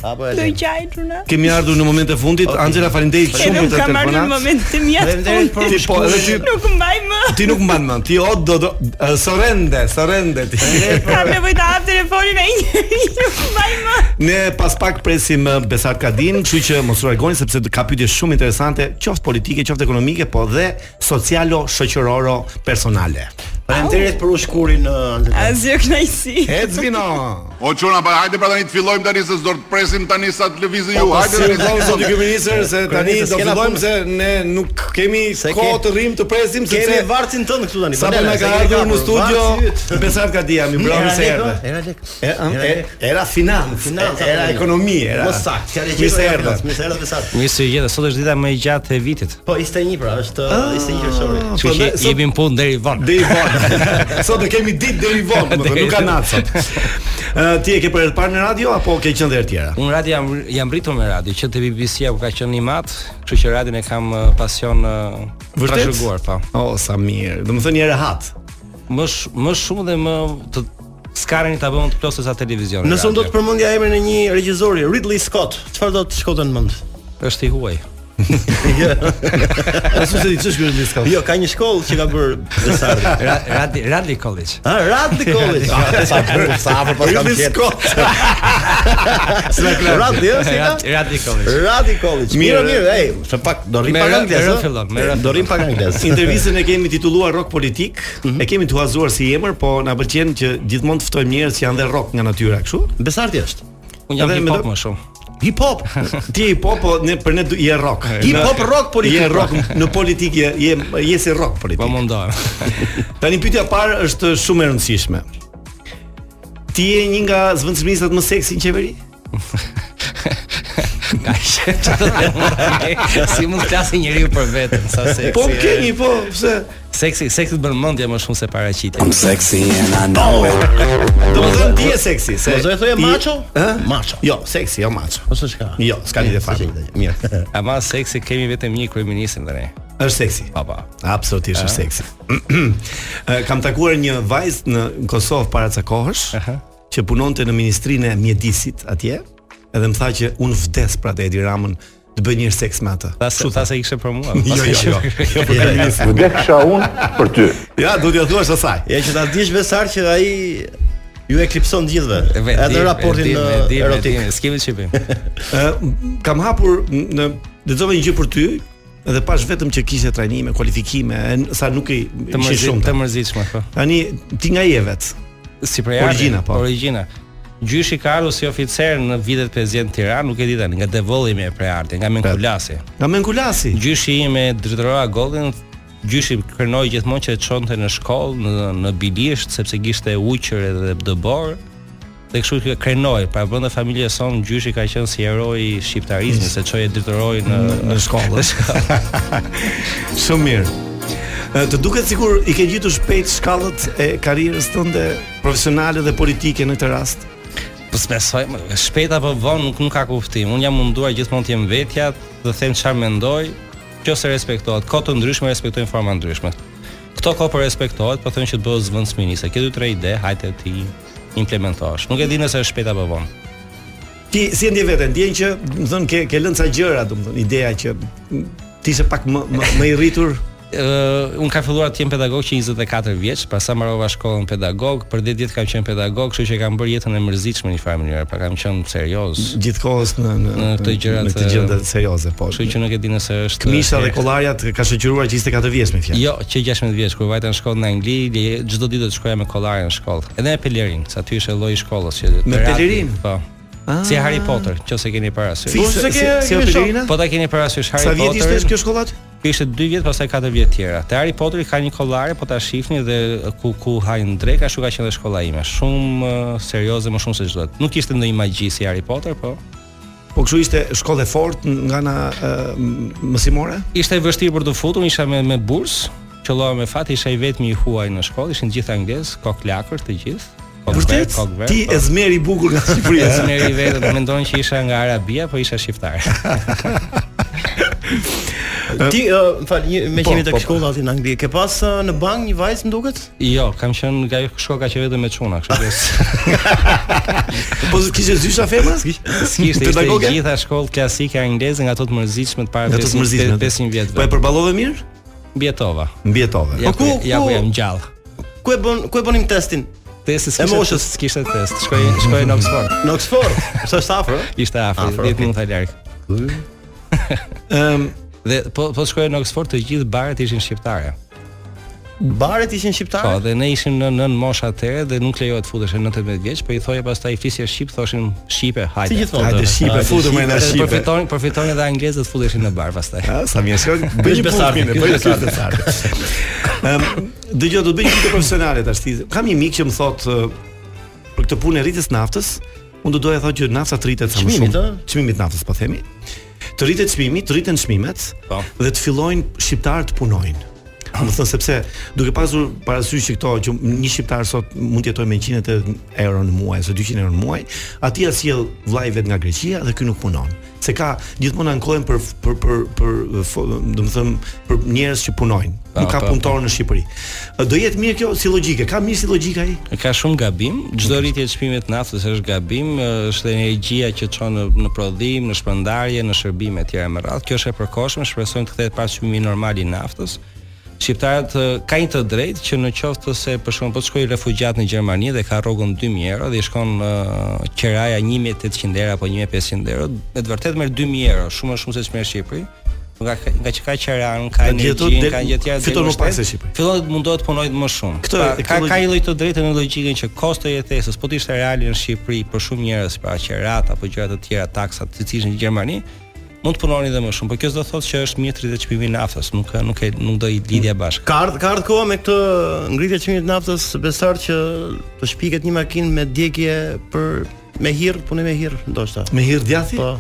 Apo
Do
e.
qaj çuna.
Kemi ardhur në momentin e fundit. Angela, faleminderit
Edhe
shumë
unë
për
kam marrë në
telefonat.
momentin mjaft.
Faleminderit për
Ti po, edhe ty
Nuk mbaj më.
ti nuk mban mend. Ti o do do ë, sorrende, sorrende ti.
Kam nevojë ta hap telefonin e një njeri, nuk mbaj më.
Ne pas pak presim ë, Besart Kadin, kështu që mos u largoni sepse ka pyetje shumë interesante, qoftë politike, qoftë ekonomike, po dhe socialo-shoqëroro personale.
Faleminderit për ushkurin
uh,
uh, Anxela.
Asgjë kënaqësi.
Ecvino.
O çuna, pa hajde pra tani të fillojmë tani se s'do të presim tani sa të lëvizë
Po,
ju. Hajde
Si
tani.
vëllai zoti kryeministër se tani
Kryeministër,
do
s'kena
fillojmë
punë.
se ne nuk kemi
Se ke-
kohë të rrim të presim
Kemi
sepse
varcin tënd këtu tani.
Sa po
Valera,
na
se
ka
kemi
ardhur në
kapur.
studio
Varci yt.
Besart Kadia, mi mbrëmë se
lek,
erdhe.
ë? Era lek.
E, ëm,
Era
e-
lek.
Era financë,
Financë,
e- era
apo jo?
ekonomi, era.
Mos sakt, fjalë e
Mi se
gjetur nga
erdhe.
Francë, Mi se erdhe besat.
Mirë se jeta, sot është dita më e gjatë e vitit.
Po 21 pra, është 21 qershori.
Kështu që
Po, dhe- sot-
jemi në punë deri vonë.
Deri vonë. Sot do kemi ditë deri vonë, më thënë,
Deri
nuk ka
vonë.
natë sot. Ë, Ti e ke për herë të parë në radio apo ke qenë dhe herë tjera?
Unë radio jam jam rritur me radio, që te BBC apo ka qenë i mat, kështu që radion e kam ë, pasion ë,
Vërtet?
trashëguar, po.
O, sa mirë. Do më thënë një rehat.
Më sh, më shumë dhe më të skarën i ta bëmë të plosë sa televizion.
Nëse unë do të përmendja emrin e një regjizori, Ridley Scott, çfarë do të shkote në mend?
është i huaj.
Asu se di ç'është ky diska.
Jo, ka një shkollë që ka bërë Besardi.
Ra- Radi Radley College.
Ah, Radley College. Ah, sa afër, sa afër pas kam qenë. Sa klar. Radley, ëh, si ka?
Rad- Radley College.
Radley College.
jo,
Mirë,
Mirë,
mirë, ej, se pak do rrim
Me
pak
rë-
anglisht.
me rë
ëh?
fillon, Mhm. me rë
Do rrim pak anglisht.
Intervistën e kemi titulluar Rock Politik, e kemi tuazuar si emër, po na pëlqen që gjithmonë të ftojmë njerëz që janë dhe rock nga natyra, kështu?
Besardi është.
Unë jam
Edhe me
hip hop
do-
më shumë.
Hip hop.
Ti je hip hop, po ne për ne du- je rock.
Hip hop rock politik.
Je rock në politikë, je je, je si rock
Po
politik.
mundohem.
Tani pyetja e parë është shumë e rëndësishme. Ti je një nga zëvendësministrat më seksi në qeveri?
Ka shëtë Si mund të klasë njeriu për veten Sa seksi
Po
e-
keni, po, pse?
Seksi, seksi të bën mendje më shumë se paraqitje
Po,
Domethënë ti je seksi, se.
Mos do Po, e thoje
ti-
macho?
Ë?
Macho. Po,
Jo, seksi, jo macho.
Ose çka?
Jo, s'ka lidhje fare.
Mirë.
Ama seksi kemi vetëm një kryeministin tani.
Është seksi. Eh.
Pa pa.
Absolutisht është seksi. Ë, Kam takuar një vajzë në Kosovë para ca kohësh që punonte në Ministrinë e Mjedisit atje, edhe më tha që unë vdes pra te Edi Ramën të bëj një seks me atë.
Ta se ta se ishte për mua.
Jo, jo, jo. Jo për kalinisin.
Vdesha unë për ty.
Ja, do t'ja thuash asaj.
Ja që ta dish besar që ai ju eklipson gjithëve. Edhe raportin ë, erotik.
Skemi çipim.
Ë, kam hapur në lexova një gjë për ty dhe pash vetëm që kishte trajnime, kualifikime, e n- sa nuk i
Të
ishin
mërzitshëm, të
shumë.
mërzitshëm po.
Tani ti nga je vet.
Si për jashtë.
Origjina, po.
Origjina. Gjyshi ka ardhur si oficer në vitet 50 në Tiranë, nuk e di tani, nga devollimi e Prearti, nga Menkulasi.
Nga Menkulasi.
Gjyshi im e drejtoroa Gollin, gjyshi kërnoi gjithmonë që të çonte në shkollë në, në bilisht sepse kishte uqër edhe dëbor. Dhe kështu që krenoi, pra brenda familjes son gjyshi ka qenë si heroi i shqiptarizmit, se çoi e drejtoroi në
në shkollë. Shumë mirë. Ë, Të duket sikur i ke gjetur shpejt shkallët e karrierës tënde profesionale dhe politike në këtë rast.
Po s'besoj, më, shpejt apo vonë nuk, nuk ka kuptim. Unë jam munduar gjithmonë të jem vetja, të them çfarë mendoj, qoftë se respektohet. Kohë të ndryshme respektojnë forma ndryshme. Këto kohë po respektohet, po thonë që të bëhet zëvendësministë. Ke dy tre ide, hajde ti implementosh. Nuk e di nëse është shpejt apo vonë.
Ti si e ndje veten? Ndjen që, do të thënë, ke ke lënë ca gjëra, do të thënë, ideja që mm, ti ishe pak më më, më i rritur.
uh, unë ka filluar të jem pedagog që 24 vjeç, pastaj mbarova shkollën pedagog, për 10 ditë kam qenë pedagog, kështu që kam bërë jetën e mërzitshme në një farë mënyrë, pra kam qenë serioz.
gjithkohës në në
Në këto gjërat,
në këtë gjëndë serioze, po.
Kështu që nuk e di nëse është
Këmisha dhe kollarjat ka shoqëruar që 24 vjeç me fjalë.
Jo, që 16 vjeç kur vajta në shkollë në Angli, le- çdo ditë do të shkoja me kollare në shkollë. Edhe me pelerin, se aty ishte lloji i shkollës që
Me
terati,
pelerin?
Po. Si Harry Potter, nëse keni
Fi,
parasysh.
se
ke-
si
kemi
Pelerina?
Po ta keni parasysh Harry
Sa
Potter.
vjet ishte kjo shkollat?
Kishte 2 vjet, pastaj 4 vjet tjera. Te Harry Potteri ka një kollare, po ta shihni dhe ku ku hajnë dreka, ashtu ka qenë dhe shkolla ime. Shumë uh, serioze, më shumë se ç'duhet. Nuk kishte ndonjë magji si Harry Potter, po
Po kështu ishte shkollë e fortë nga ana e, m- mësimore?
ishte e vështirë për të futur, isha me me bursë Qëllova me fat isha i vetmi i huaj në shkollë, ishin të gjithë anglez, kok lakër të gjithë. Kok
Vërtet?
ver, kok ver,
Ti
po.
e zmeri i bukur nga Shqipëria.
E zmeri i vetëm, mendon që isha nga Arabia, po isha shqiptar.
Ti, uh, më fal, një- me
Po,
qenë tek
po, po.
shkolla aty në Angli, ke pas uh, në bank një vajzë më duket?
Jo, kam qenë nga shkoka që vetëm me çuna, kështu që
Po kishe zysha femra?
s'kishte ishte
Pedagoge?
i gjitha shkollë klasike angleze nga ato të mërzitshme të para
Nga të
500
mërzitshme.
500 vjetëve.
Po e përballove mirë?
Mbietova.
Mbietove.
Ja ku
Po, ku-
ja ku
ku-
jam gjallë.
Ku e bën ku e bënim testin?
Testi
E
s'kishte.
moshës.
s'kishte test. Shkoj shkoj në Oxford.
Në Oxford. Sa është afër? ë?
Ishte afër,
Afër,
10
okay.
minuta larg.
Ëm
Dhe po po shkoj në Oxford të gjithë baret ishin shqiptare.
Baret ishin
Po,
shqiptarë.
dhe ne ishim në nën moshë atëherë dhe nuk lejohet futesh në 18 vjeç, po i thoje pastaj fisje shqip, thoshin shqipe, hajde.
Si gjithmonë.
Hajde
Hajde,
shipe, futu më na
Edhe
shipe.
Përfitonin përfitonin edhe anglezët futeshin në bar pastaj.
Ah, Sa mirë shkoj.
Bëj besartë,
bëj
bëj
besar. Ëm dëgjoj do të bëj një pikë profesionale tash. ti. Kam një mik që më thot ë, për këtë punë e rritjes naftës, unë do doja thotë që nafta të rritet sa më
Çmimit,
shumë.
ë?
Çmimit naftas po themi. Të rritet çmimi, të rriten çmimet
Po. Ah.
dhe të fillojnë shqiptarët të punojnë. Do të thënë sepse duke pasur parasysh që këto që një shqiptar sot mund të jetojë me 180 euro në muaj ose 200 euro në muaj, aty ia sjell vllai vet nga Greqia dhe ky nuk punon. Se ka gjithmonë ankohen për për për për fo- do të them për njerëz që punojnë. Nuk ka
po,
punëtor në Shqipëri. Do jetë mirë kjo si logjike. Ka mirë si logjika ai?
Ka shumë gabim, çdo rritje e çmimit të naftës është gabim, është energjia që çon në, në prodhim, në shpërndarje, në shërbime të tjera me radhë. Kjo është e përkohshme, shpresojmë të kthehet pas çmimit normal i naftës. Shqiptarët eh, kanë të drejtë që në qoftë të se për shkakun po të shkojë refugjat në Gjermani dhe ka rrogën 2000 euro dhe i shkon uh, qeraja 1800 euro apo 1500 euro, me të vërtetë merr 2000 euro, shumë më shumë se ç'merr në Shqipëri. Nga nga që ka qeran, ka
Ka dietot
energjinë,
del-
ka gjë të tjera del
fiton më pak
vështet,
se Shqipëri.
Fillon të mundohet të punojë më shumë.
Këtë-
Pa,
e
ka
kjo
ka
logj-
një lloj të drejtë në logjikën që kosto e jetesës, po të ishte reale në Shqipëri për shumë njerëz, pra qerat apo gjëra të tjera, taksat, të cilësh në Gjermani, mund të punonin edhe më shumë, por kjo s'do thotë që është mirë 30 çmimi i naftës, nuk nuk e nuk do i lidhja bashkë.
Ka ardhur ka ardhur koha me këtë ngritje të çmimit të naftës besar që të shpiket një makinë me djegje për me hirr, punë me hirr ndoshta.
Me hir djathi?
Po.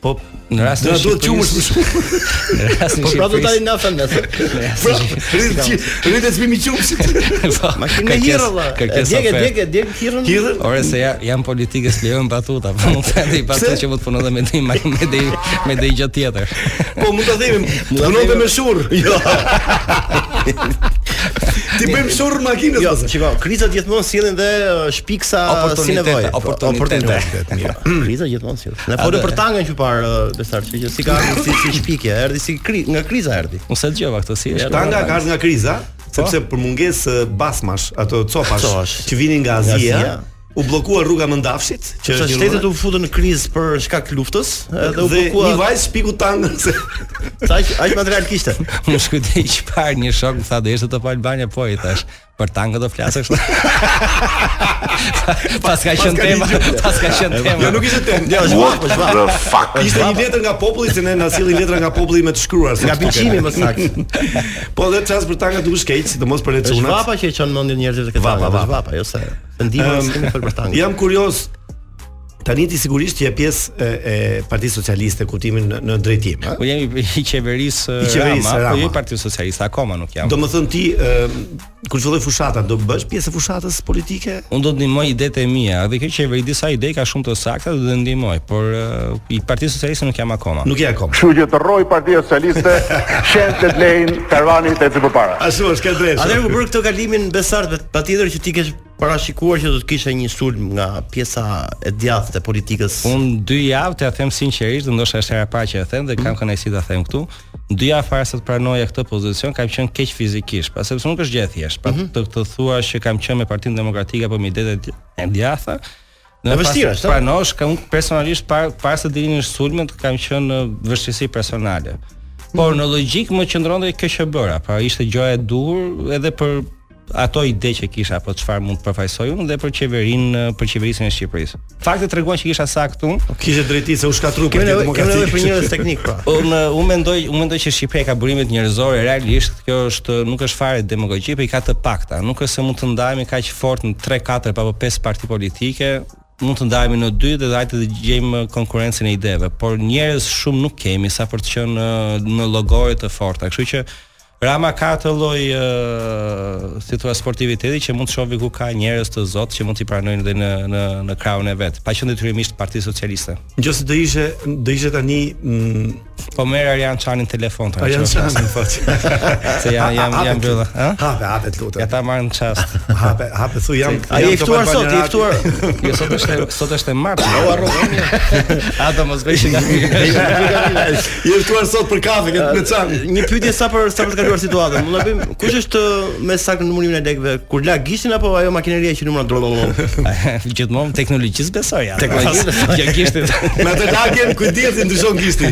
Po,
Në rast
Do na duhet qumësh më shumë.
Në rast
po prapë do tani naftën me
Pra, rritet qi- rritet çmimi i qumshit.
Makinë me hirr valla. Djegje, djegje, djeg hirrën.
Hirrën?
Ore se ja, jam politikës lejon batuta, po mund të ndej batutë që mund të punon dhe me ndej me ndej me ndej gjë tjetër.
Po mund ta themi, punon dhe me shurr. Jo. Ti bëjmë shurr makinës.
Jo,
ose?
shiko, krizat gjithmonë sillin dhe uh, shpiksa si
Oportunitete,
nevojë.
oportunitete.
mirë. Kriza gjithmonë sillin. Ne folëm për tangën që parë uh, besar, që që si ka ardhur si, si shpikje, erdhi si kri, nga kriza erdhi.
Unë se dëgjova këtë si.
Tanga ka ardhur nga kriza, sepse për mungesë e, basmash, ato copash
Po. Copash.
që vinin nga
Azia.
Azia, u bllokua rruga Mëndafshit, që
Që
është një
shtetet u
rrugë-
futën në krizë për shkak të luftës, edhe u
dhe një
bllokuan.
vajzë shpiku tangën se
Sa aq aq material kishte.
Më shkujtej që parë një shok më tha do ishte top Albania po i thash për tanga do flasësh. pas ka qenë
ka
tema,
ligjuar.
pas ka qenë tema.
jo nuk ishte temë. Jo,
Jo,
zhvaq,
po zhvaq.
fuck?
Ishte një letër nga populli se ne na sillin letra nga populli me të shkruar. se
Nga
kështu
biçimi
kemi.
më saktë.
Po dhe çast për tanga duhet shkëq, sidomos për
Është
lecunat.
vapa që e çon mendin njerëzit të këtë
Vapa,
tangë,
vapa.
është vapa, jo se. Të ndihmën
Ëm,
um, kemi fol për tangën.
Jam kurios Tani ti sigurisht je pjesë e, e Partisë Socialiste kuptimin në, në drejtim, ëh?
Po jemi i qeverisë
I
Rama,
qeverisë
po
Rama.
jo i Partisë Socialiste, akoma nuk jam.
Do më thënë ti, ë, kur filloi fushata, do bësh pjesë e fushatës politike?
Unë do të ndihmoj idetë e mia, dhe kjo qeveri disa ide ka shumë të sakta do të ndihmoj, por eh, i Partisë Socialiste nuk jam akoma.
Nuk je akoma.
Kështu që të rroj Partia Socialiste, shenjtë të blejnë karvanin të ecë përpara.
Ashtu është ka drejtë.
Atëherë ku bër këtë kalimin besart, patjetër që ti ke parashikuar që do të kishe një sulm nga pjesa e djathtë e politikës.
Un dy javë t'ja them sinqerisht, dhe ndoshta është hera e parë që e them dhe kam kënaqësi ta them këtu. Dy javë para se të pranoja këtë pozicion, kam qenë keq fizikisht, pa sepse nuk është gjë e thjeshtë. Pa të, të thua që kam qenë me Partinë Demokratike apo me idetë e dj- e djatha. Në
vështirë është, a?
Pranosh, pra, kam unë personalisht para para se dilinin sulmet, kam qenë në vështirësi personale. Por
Mhm.
në logjik më qëndronte kjo që bëra, pra ishte gjëja e duhur edhe për ato ide që kisha apo çfarë mund të përfaqësoj unë dhe për qeverinë për qeverisjen e Shqipërisë. Faktet treguan që kisha saktë unë,
Kishe drejti se u shkatrua
Kemi
Partia
nevojë kemi nevojë për
Demokratike.
njerëz teknik pra.
Unë unë eh, mendoj, unë mendoj që Shqipëria ka burimet njerëzore realisht, kjo është nuk është fare demagogji, por i ka të pakta. Nuk është se mund të ndahemi kaq fort në 3, 4 apo 5 parti politike, mund të ndahemi në 2 dhe hajde të gjejmë konkurrencën e eh, ideve, por njerëz shumë nuk kemi sa për të qenë në- në llogore të forta. Kështu që Rama ka atë lloj ë, si thua sportiviteti që mund të shohë ku ka njerëz të zot që mund t'i pranojnë dhe në në në krahun e vet, pa qenë detyrimisht Parti Socialiste.
Nëse do ishe do ishte tani mm,
po merr Arjan Çanin telefon tani.
Arjan
që-
Çanin, po.
Se jam jam
Ha- ha-
jam
hapet
mbyllë,
lutem.
ha?
Hape, hape të lutem.
Ja ta marrën çast.
Hape, hape thu jam.
Ai
jam
i ftuar
top
sot, i
Albanian
ftuar.
Rati.
Jo sot është sot është e martë.
O arrogant.
Ata mos bëjshin.
I ftuar sot për kafe këtë me çan.
Një pyetje sa për sa për të kaluar situatën. Mund ta bëjmë kush është ë, me sakt numërimin e lekëve? Kur la gishtin apo ajo makineria që numëron drollon?
Gjithmonë teknologjisë besoj ja.
Teknologjisë besoj.
Ja gishtit.
Me atë lagjen ku dihet se ndryshon gishti.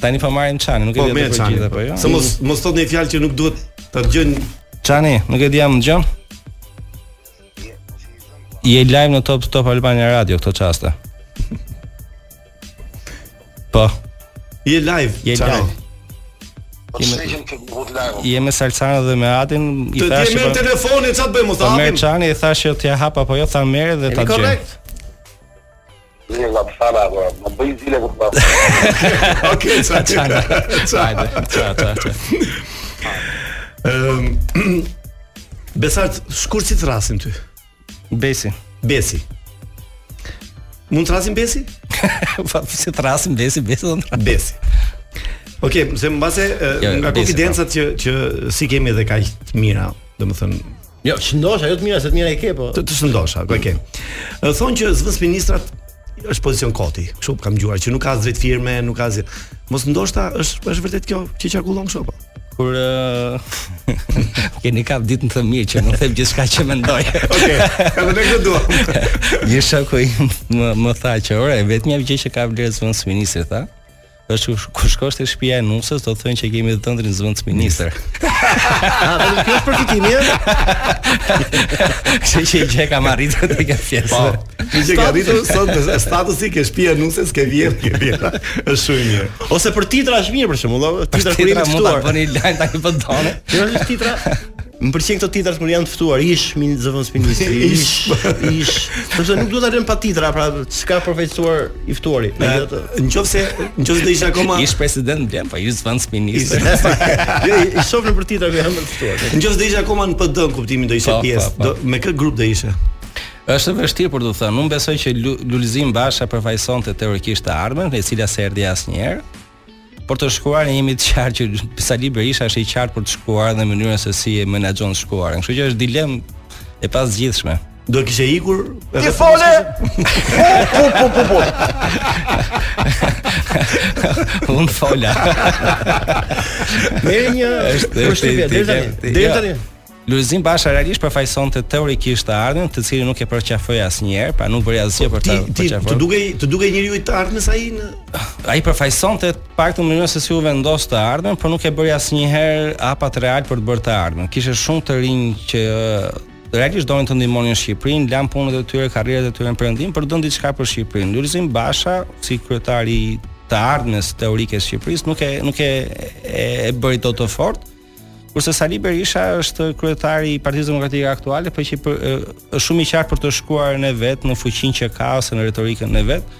Tani po marrin Çanin, nuk e
Po
di
me
atë
çan.
përgjigje apo jo.
Se mos mos thot një fjalë që nuk duhet ta dëgjojnë
Çani, nuk e di jam dëgjon. Je live në Top Top Albania Radio këto çaste. Po,
je live.
je
Çano.
live. Je me Salsano dhe me Atin, i
Të ti
thashë
merr
po-
telefonin çfarë bëjmë mos
po merr
hapim.
Çani, i thashë jo t'ja hap apo jo, tha merr dhe ta
Jeni
gjej.
korrekt?
Okej,
Çana.
çana.
Hajde, ça ça ça.
Ëm Ehm, Besart, shkurt si të rasim ty?
Besi.
Besi. Mund të rasim Besi?
Po si trasim Besi, Besi do të
Besi. Okej, se mbase eh,
Jo, jo,
nga
Besi,
konfidencat që që si kemi edhe kaq të mira, domethënë
Jo, shëndosh, ajo të mira, se të mira e ke po.
të të shëndosha, okej. Okay. Thonë që zvës ministrat është pozicion koti. Kështu kam dëgjuar që nuk ka as drejt firme, nuk ka as mos ndoshta është është vërtet kjo që qarkullon kështu po. apo?
kur ë, keni kap ditën të mirë që nuk them gjithçka që mendoj.
Okej, ka të lekë dua.
Një shoku im më, më tha që ore, vetmja gjë që ka vlerë zvend ministri tha, është kur- kur shkosh te shtëpia e nusës do të thonë që kemi dhëndrin zvend ministër.
Ah, vetëm kjo është përkitimi, ë?
Kështu që i gjë kam arritur te kjo pjesë.
Po. Ti që ka ditur sot statusi ke shtëpia nuse, s'ke vjedh, ke vjedha. Është shumë mirë.
Ose për titra është mirë për shembull, ë,
Për
titra kur
titra
jemi të
mund ta
ftuar.
bëni lajm tani po doni.
Kjo është titra. Më pëlqen këto titrat kur janë të ftuar, ish min zëvon ministri, ish, ish. Sepse nuk duhet ta lënë pa titra, pra s'ka përfaqësuar i ftuari. Megjithatë,
Nëse nëse do isha akoma
Ish president blen, po ish zvend ministër.
jo, i- i shoh për titra që janë të ftuar.
nëse do isha akoma në PD në kuptimin do isha
Po, po,
pjesë.
po.
Do me kë grup do ishe?
Është e vështirë për të thënë. Unë besoj që Lu- Lulzim Basha përfaqësonte teorikisht të armën, e cila s'erdhi asnjëherë. Por të shkruar jemi të qartë që Sali Berisha është i qartë për të shkruar dhe mënyrën se si e menaxhon shkruarën. Kështu që është dilem e pasgjithshme.
Do kishe ikur
Ti
edhe
fole.
Unë fola.
Merri një
Është- është
përshtypje deri tani.
inteligent.
Deri
Jo.
tani.
Lulzim Basha realisht përfaqësonte teorikisht të ardhmen, të cilin nuk e përqafoi asnjëherë, pra nuk bëri asgjë për
Po, ti
ta
ti
përqafuar.
të dukej të dukej njeriu i të ardhmes ai në
ai përfaqësonte të paktën mënyrën se si u vendos të ardhmen, por nuk e bëri asnjëherë hapat real për të bërë të ardhmen. Kishte shumë të rinj që ë, realisht donin të ndihmonin Shqipërinë, lan punët e tyre, karrierat e tyre në perëndim, por don diçka për Shqipërinë. Lulzim Basha, si kryetari i të ardhmes teorike të Shqipërisë, nuk e nuk e e, e bëri dot të fortë. Kurse Sali Berisha është kryetari i Partisë Demokratike aktuale, por që për, ë, është shumë i qartë për të shkuar në vet, në fuqinë që ka ose në retorikën në vet,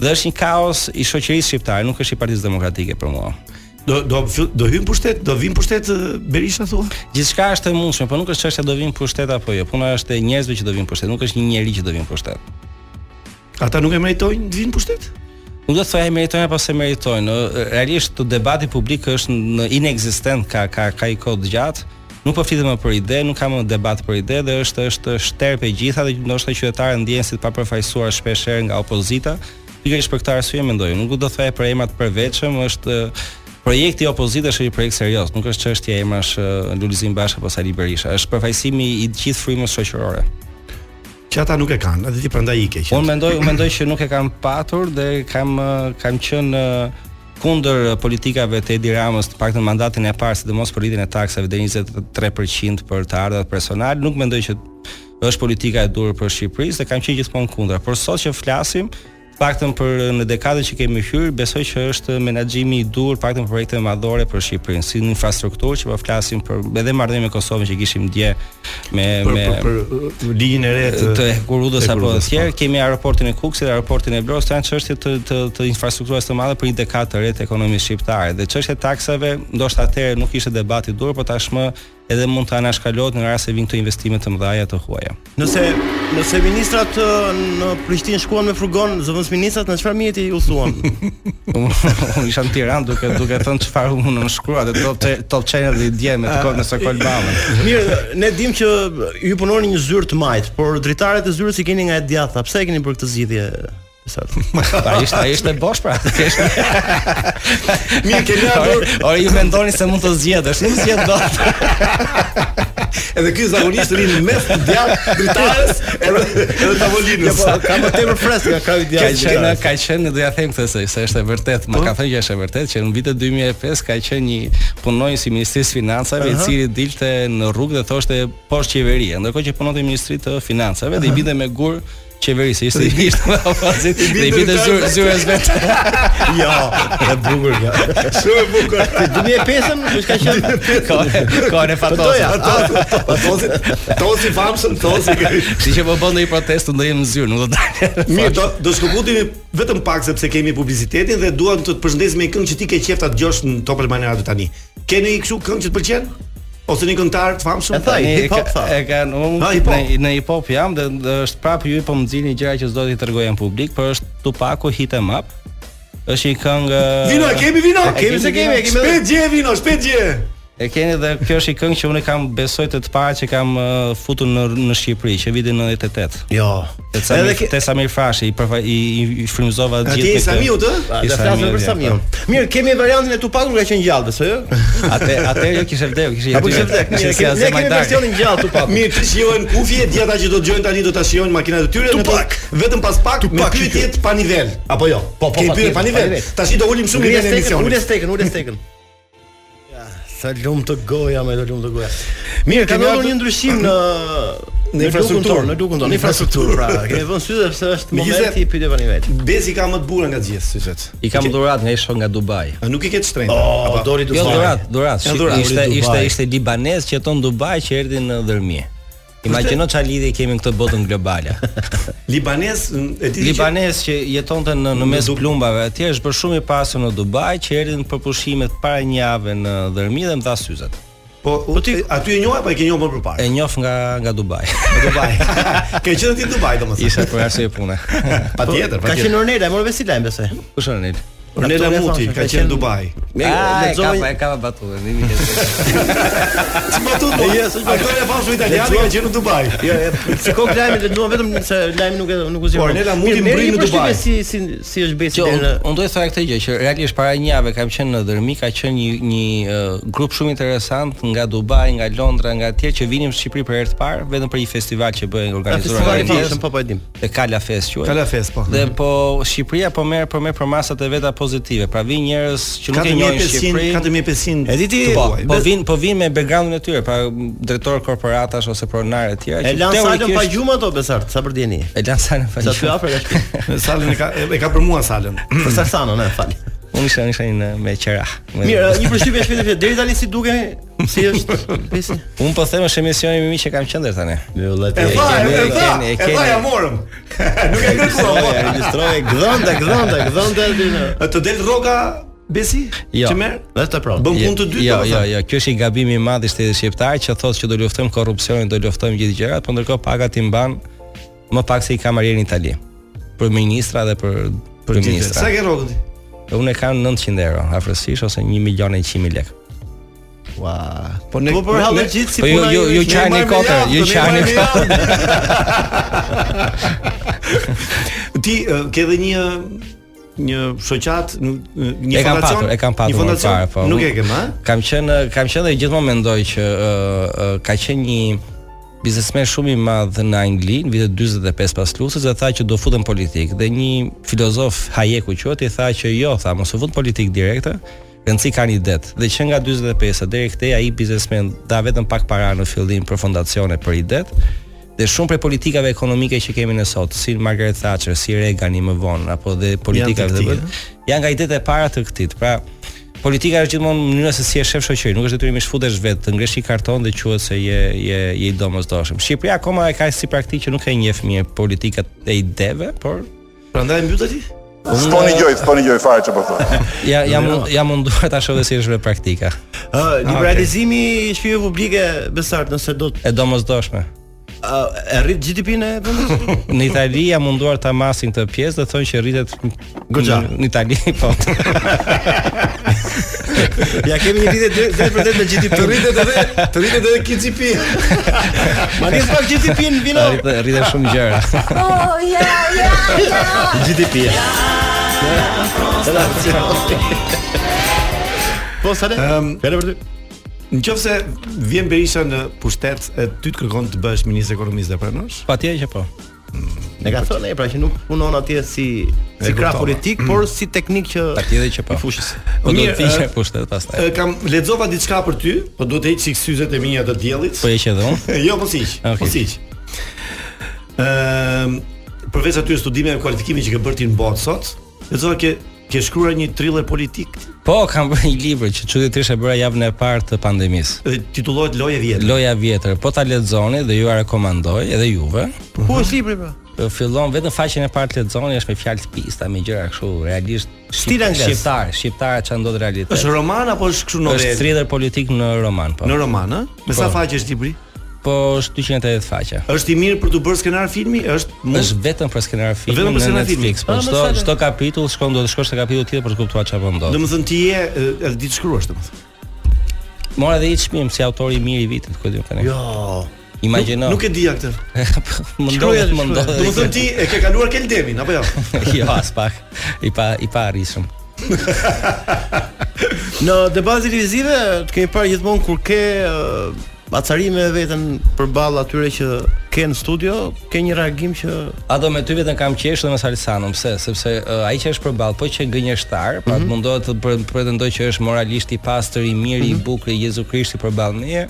dhe është një kaos i shoqërisë shqiptare, nuk është i Partisë Demokratike për mua.
do do fill- do hyn pushtet, do vim pushtet eh, Berisha thua?
Gjithçka është e mundshme, por nuk është çështja do vinë pushtet apo jo. Puna është e njerëzve që do vinë pushtet, nuk është një njerëz që do vinë pushtet.
Ata nuk e meritojnë të vinë pushtet?
Nuk do të thoya e meritojnë apo se meritojnë. Ë, Realisht të debati publik është në inekzistent ka ka ka i kohë gjatë. Nuk po flitem më për ide, nuk ka më debat për ide dhe është është shterp e gjitha dhe ndoshta qytetarët ndjehen si të papërfaqësuar shpesh herë nga opozita. Pikërisht për këtë arsye mendoj, nuk do të thoya për emrat përveçëm, është ë, projekti i opozitës është një projekt serioz, nuk është çështje e emrash ë, Lulzim Basha apo Sali Berisha, është përfaqësimi i gjithë frymës shoqërore.
Që ata nuk e kanë, edhe ti prandaj i ke.
Unë mendoj, unë mendoj që nuk e kam patur dhe kam eh, kam qenë eh, kundër eh, politikave të Edi Ramës, të paktën mandatin e parë, sidomos për rritjen e taksave deri 23% për të ardhurat personal, nuk mendoj që është politika e durë për Shqipërisë dhe kam qenë gjithmonë kundër. Por sot që flasim, paktën për uh, në dekadën që kemi hyr, besoj që është menaxhimi i dur, paktën për projekte madhore për Shqipërinë, si në infrastrukturë që po flasim për edhe marrëdhënie me Kosovën që kishim dje me
për,
me
për, për linjën e re
të, po. të Kurudës apo të tjerë, kemi aeroportin e Kukësit, aeroportin e Blovës, janë çështje të, të, të infrastrukturës të madhe për një dekadë të re të ekonomisë shqiptare. Dhe çështja e taksave, ndoshta atëherë nuk ishte debati i dur, por tashmë edhe mund të anashkalohet në rast se vijnë këto investime të mëdha të huaja.
Nëse nëse ministrat në Prishtinë shkuan me furgon, zëvendësministrat në çfarë mjeti u thuan?
Unë isha në Tiranë duke duke thënë çfarë unë në shkrua dhe top top channel dhe dje me të kohë në Sokol Ballën.
Mirë, ne dim që ju punoni një zyrë të majt, por dritaret e zyrës i keni nga e djatha. Pse e keni për këtë zgjidhje?
Sot. Ai ishte ai ishte bosh pra.
Mirë keni atë.
Ora ju mendoni se mund të zgjedhësh, nuk zgjedh dot.
edhe ky zakonisht rin në mes të djathtë dritares edhe edhe tavolinës. Ja,
po, ka më tepër freskë ka i
djathtë. Ka qenë ka qenë do ja them këtë se se është e vërtet, më ka thënë që është e vërtet që në vitin 2005 ka qenë një punonjës i Ministrisë Financave i cili dilte në rrugë dhe thoshte poshtë qeveria, ndërkohë që punonte në Ministrinë të Financave dhe i binte me gur qeverisë, ishte i ishte opozit dhe i vinte zyr zyrës vet.
Jo, e bukur kjo.
Shumë e bukur.
Te 2005-ën kush ka qenë?
Ka ka në fatosi.
Fatosi, tosi famshëm, tosi.
Si që po bën ndonjë protestë ndonjë në zyrë, nuk do dalë.
Mirë, do do shkëputemi vetëm pak sepse kemi publicitetin dhe duam të të përshëndesim me këngë që ti ke qefta dëgjosh në Top Albania Radio tani. Ke një kështu këngë që të pëlqen? Ose një këngëtar të famshëm?
E thaj, hip hop tha. E kanë, unë në, në hip hop jam dhe, dhe është prapë ju po më nxjini gjëra që s'do t'i tregoj në publik, por është Tupaku Hit em up. Është një këngë
Vino, e kemi vino?
E kemi se kemi, e kemi.
Shpejt gje vino, shpejt gje.
E keni dhe kjo është i këngë që unë kam besoj të të parë që kam uh, futur në në Shqipëri, që vitin 98.
Jo.
Te Samir, Edhe ke... te Samir Frashi i përfa, i, i frymëzova
gjithë. Atje Samiu të?
Do Ah, flasim për Samiu.
po.
Mirë, kemi variantin e Tupakut ka qenë gjallë, besoj jo? ë?
Atë atë jo kishte vdekur, kishte
jetuar. Apo kishte vdekur. Ne kemi, kemi versionin gjallë Tupak.
Mirë, të shijojnë kufje, djeta që do të dëgjojnë tani do ta shijojnë makinat e tyre,
Tupak.
vetëm pas pak me pyetje pa nivel, apo jo?
Po, po,
kemi pyetje pa nivel. Tashi do ulim shumë nivelin e
emisionit. Ulës tekën, ulës tekën. Sa lum të goja me të lum të goja. Mirë, ka ndodhur një ndryshim në
në infrastrukturë,
në lukun tonë, në infrastrukturë pra. Kemi vënë sy sepse është momenti i pyetjeve tani vetë.
Bezi ka më të burën nga të gjithë, syçet.
I kam dhurat nga isho nga Dubai.
A nuk i ke shtrenjtë?
Oh, doli Dubai.
Jo dhurat, dhurat. Ishte ishte ishte libanez që jeton në Dubai që erdhi në Dërmie. Imagjino çfarë lidhje kemi në këtë botën globale.
Libanez,
e di Libanez që jetonte në në mes plumbave atje është bërë shumë i pasur në Dubai që erdhin për pushimet para një jave në Dërmi dhe më dha syzat.
Po, po ti aty e njoh apo e ke njohur më përpara?
E njoh nga nga Dubai.
Nga Dubai. ke qenë ti në Dubai domethënë.
Isha për arsye pune.
Patjetër, patjetër.
Po, Ka qenë Ornela, e morë vesi lajm besoj.
Kush Ornela?
Ornela Muti ka qenë në Dubai.
Ne lexoj ka ka batuar, ne mi
lexoj. Batuar. Jo, s'ka gjë pashu italiane ka qenë në Dubai.
Jo, sikon lajmin lexuam vetëm se lajmi nuk e nuk u zgjuar.
Ornela Muti mbri në Dubai.
Si si si është bëjë
deri. Unë do të thoya këtë gjë që realisht para një javë kam qenë në Dërmi, ka qenë një një grup shumë interesant nga Dubai, nga Londra, nga atje që vinin në Shqipëri për herë të parë, vetëm për një festival që bëhen organizuar
nga Festival po po e dim.
Te Kala Fest quhet.
Kala Fest po.
Dhe po Shqipëria po merr po merr për masat e veta pozitive. Pra vin njerëz që nuk e njohin Shqipërinë.
4500.
E di ti, po, po vin, po vin me backgroundin e tyre, pra drejtor korporatash ose pronar e tjerë.
E lan salën pa gjumë ato besart, sa për dieni.
E lan salën pa gjumë.
Sa ty afër ka
shtëpi. salën e ka e ka për mua salën.
Për Sarsanën, e fal.
Unë isha isha në me qera.
Mirë, një përshtypje shpejt shpejt deri tani si duke si është pesi.
Unë po them është emisioni i mi që kam qenë deri tani.
Jo, vëllai.
E keni, e keni, e keni. Ja morëm. Nuk e kërkova.
Regjistroje gdhënda, gdhënda, gdhënda aty.
Të del rroka Besi?
Jo.
Që merr?
Dhe të provë.
Bën punë të dytë.
Jo, jo, jo, kjo është i gabimi i madh i shtetit shqiptar që thotë që do luftojmë korrupsionin, do luftojmë gjithë gjërat, por ndërkohë pagat i mban më pak se i kamarierin në Itali. Për ministra dhe për
për ministra. Sa ke rrokën ti?
Unë e kam 900 euro, afërsisht ose 1 milion e 100 mijë lekë.
Ua. Po ne po për hallë gjithë si puna.
Po ju ju qani kotër, ju qani kotër.
Ti ke edhe një një shoqat, një
e kam patur, e kam patur
një fondacion,
po.
Nuk e kem, a?
Kam qenë, kam qenë dhe gjithmonë mendoj që uh, uh, ka qenë një biznesmen shumë i madh në Angli në vitet 45 pas luftës dhe tha që do futen politik dhe një filozof Hayeku quhet i tha që jo tha mos u fut politik direkte rëndësi ka një det dhe që nga 45 deri këtej ai biznesmen dha vetëm pak para në fillim për fondacione për i det Dhe shumë prej politikave ekonomike që kemi në sot, si Margaret Thatcher, si Reagan i më vonë, apo dhe politikave
këtij,
dhe bërë, janë nga idetë e para të këtit. Pra, politika është gjithmonë mënyra se si e shef shoqërinë, nuk është detyrimisht futesh vetë, të ngresh një karton dhe quhet se je je je i domosdoshëm. Shqipëria akoma e ka si praktikë që nuk e njeh mirë politikat e ideve, por
prandaj mbyt aty.
Stoni gjoj, stoni gjoj fare çfarë po thon.
Ja jam jam munduar ta shoh dhe si është me praktika.
Ë, liberalizimi i shpive publike besart nëse do të
E domosdoshme.
Ë, e rrit GDP-n e vendit.
Në Itali jam munduar ta masin këtë pjesë dhe thonë që rritet
Goxha.
Në Itali po.
Ja kemi një lidhje drejt drejt për drejt me GDP.
Të rritet edhe, të rritet edhe KCP.
Ma nis pak GDP-n vino.
Rritet rritet shumë gjëra.
Oh, ja, ja, ja.
GDP. Po sa le?
Ëm,
Fjale për ty.
nëse vjen Berisha në pushtet e ty të kërkon të bësh ministër ekonomisë dhe pranosh?
Patjetër që po.
Ne ka thënë ai pra që nuk punon atje si si krah
kuptova.
politik, por si teknik që
Patjetër që po.
i fushës.
Po do
Mirë,
të thishë
ë,
pushtet pastaj.
E, kam lexova diçka për ty, po duhet të heq sik syzet e mia të diellit.
Po e që edhe unë.
jo, mos hiq,
Okej.
mos hiq. Ëm, përveç atyre studimeve e kualifikimit që ke bërë ti në botë sot, lexova ke ke shkruar një thriller politik
Po kam bërë një libër që çuditërisht e bëra javën e parë të pandemisë.
e titullohet Loja e vjetër.
Loja vjetër, po ta lexoni dhe ju ja rekomandoj edhe juve.
Ku është libri
po?
pra?
Ë, Fillon vetëm faqen e parë të lexoni është me fjalë të pista, me gjëra kështu realisht
Stil
shqip-
angles.
shqiptar, shqiptar çfarë ndodh realitet.
Është roman apo është kështu
Është
novel?
thriller politik në roman, po.
Në roman, ë? Me sa
Po.
faqe është libri?
Po është 280 faqe.
Është i mirë për të bërë skenar filmi? Është mund
Është vetëm për skenar filmi
Vetëm për
në
skenar filmi.
Netflix, po
Ah, më
çdo
sa le.
çdo kapitull shkon do të shkosh te kapitulli tjetër për të kuptuar çfarë po ndodh.
Domethënë ti je e, edhe ditë shkruash domethënë.
Mora edhe i çmim si autori i mirë i vitit, ku e diun tani.
Jo.
Imagjino.
Nuk e dija këtë.
më
shkruaj,
ndodhet, më
shkruaj.
ndodhet.
Domethënë ti e ke kaluar Keldemin apo jo?
jo as pak. I pa i pa arritshëm.
Në debatë televizive të kemi parë gjithmonë kur ke uh, acarime veten përballë atyre që ke në studio, ke një reagim që
A do me ty vetën kam qesh dhe me Salsanum, pse? Sepse uh, ai që është përballë, po që gënjeshtar, pra
Mhm.
të mundohet të pre- pretendoj që është moralisht i pastër, i mirë,
Mhm.
i bukur, i Jezu Krishti përballë meje.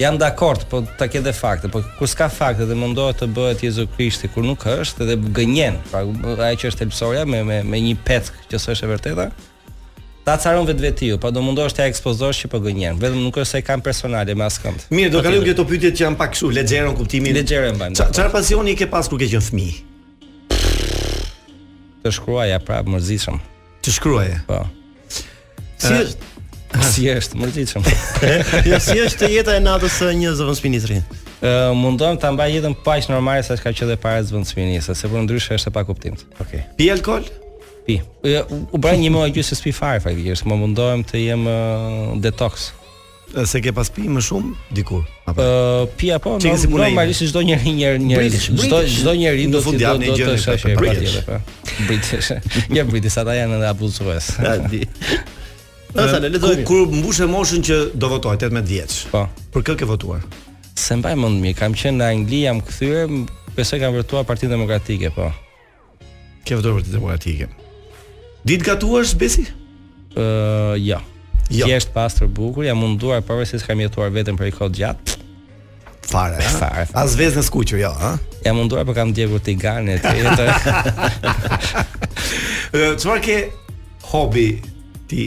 Jam dakord, po ta ke dhe fakte, po kur s'ka fakte dhe mundohet të bëhet Jezu Krishti kur nuk është dhe gënjen. Pra ai që është elpsoria me me me një peck që s'është e vërteta. Ta caron vetë vetiu, pa do mundohesh ta ekspozosh që po gënjen. Vetëm nuk është se e kam personale me askënd.
Mirë, do kalojmë këto pyetjet që janë pak kështu lexherën kuptimin.
Legjere mbajmë.
Qa- Çfarë pasioni ke pas kur ke qenë fëmijë?
Të shkruaja prapë mërzitshëm.
Të shkruaje.
Po.
si është
Si është mërzitshëm.
ja, jo, si është jeta e natës së një zëvendësministri.
Ë, mundohem ta mbaj jetën paq normale sa ka qenë para zvendësministë, se për ndryshe është e pa kuptim.
Okej.
Pi alkol?
Pi. Ë, U, u bëra një muaj gjysmë se s'pi fare faktikisht, më mundohem të jem ë, detox.
Se ke pas pi më shumë dikur. Apo
Ë, pi apo
Çike si
no-
puna ime.
normalisht çdo njeri një një
British,
çdo
British.
çdo njeri
Në
do
fund
të do,
javë
do
një
të
gjë
shohë
në-
British.
British.
po. British. Ja British ata janë edhe abuzues.
Ja, di. Asa le lexoj.
Kur, kur mbushe moshën që do votoj 18 vjeç.
Po.
Për kë ke votuar?
Se mbaj mend mirë, kam qenë në Angli, jam kthyer, m- besoj kam vërtuar Partinë Demokratike, po.
Ke votuar për Demokratike. Ditë gatuash besi?
Ë, jo.
Jo.
Thjesht pastër bukur, jam munduar pavarësisht se kam jetuar vetëm për një kohë gjatë.
Fare. ha?
Fare, fare.
As vezë në skuqur, jo, ha.
Jam munduar por kam djegur të gane të jetë.
Ë, Çfarë ke hobi ti?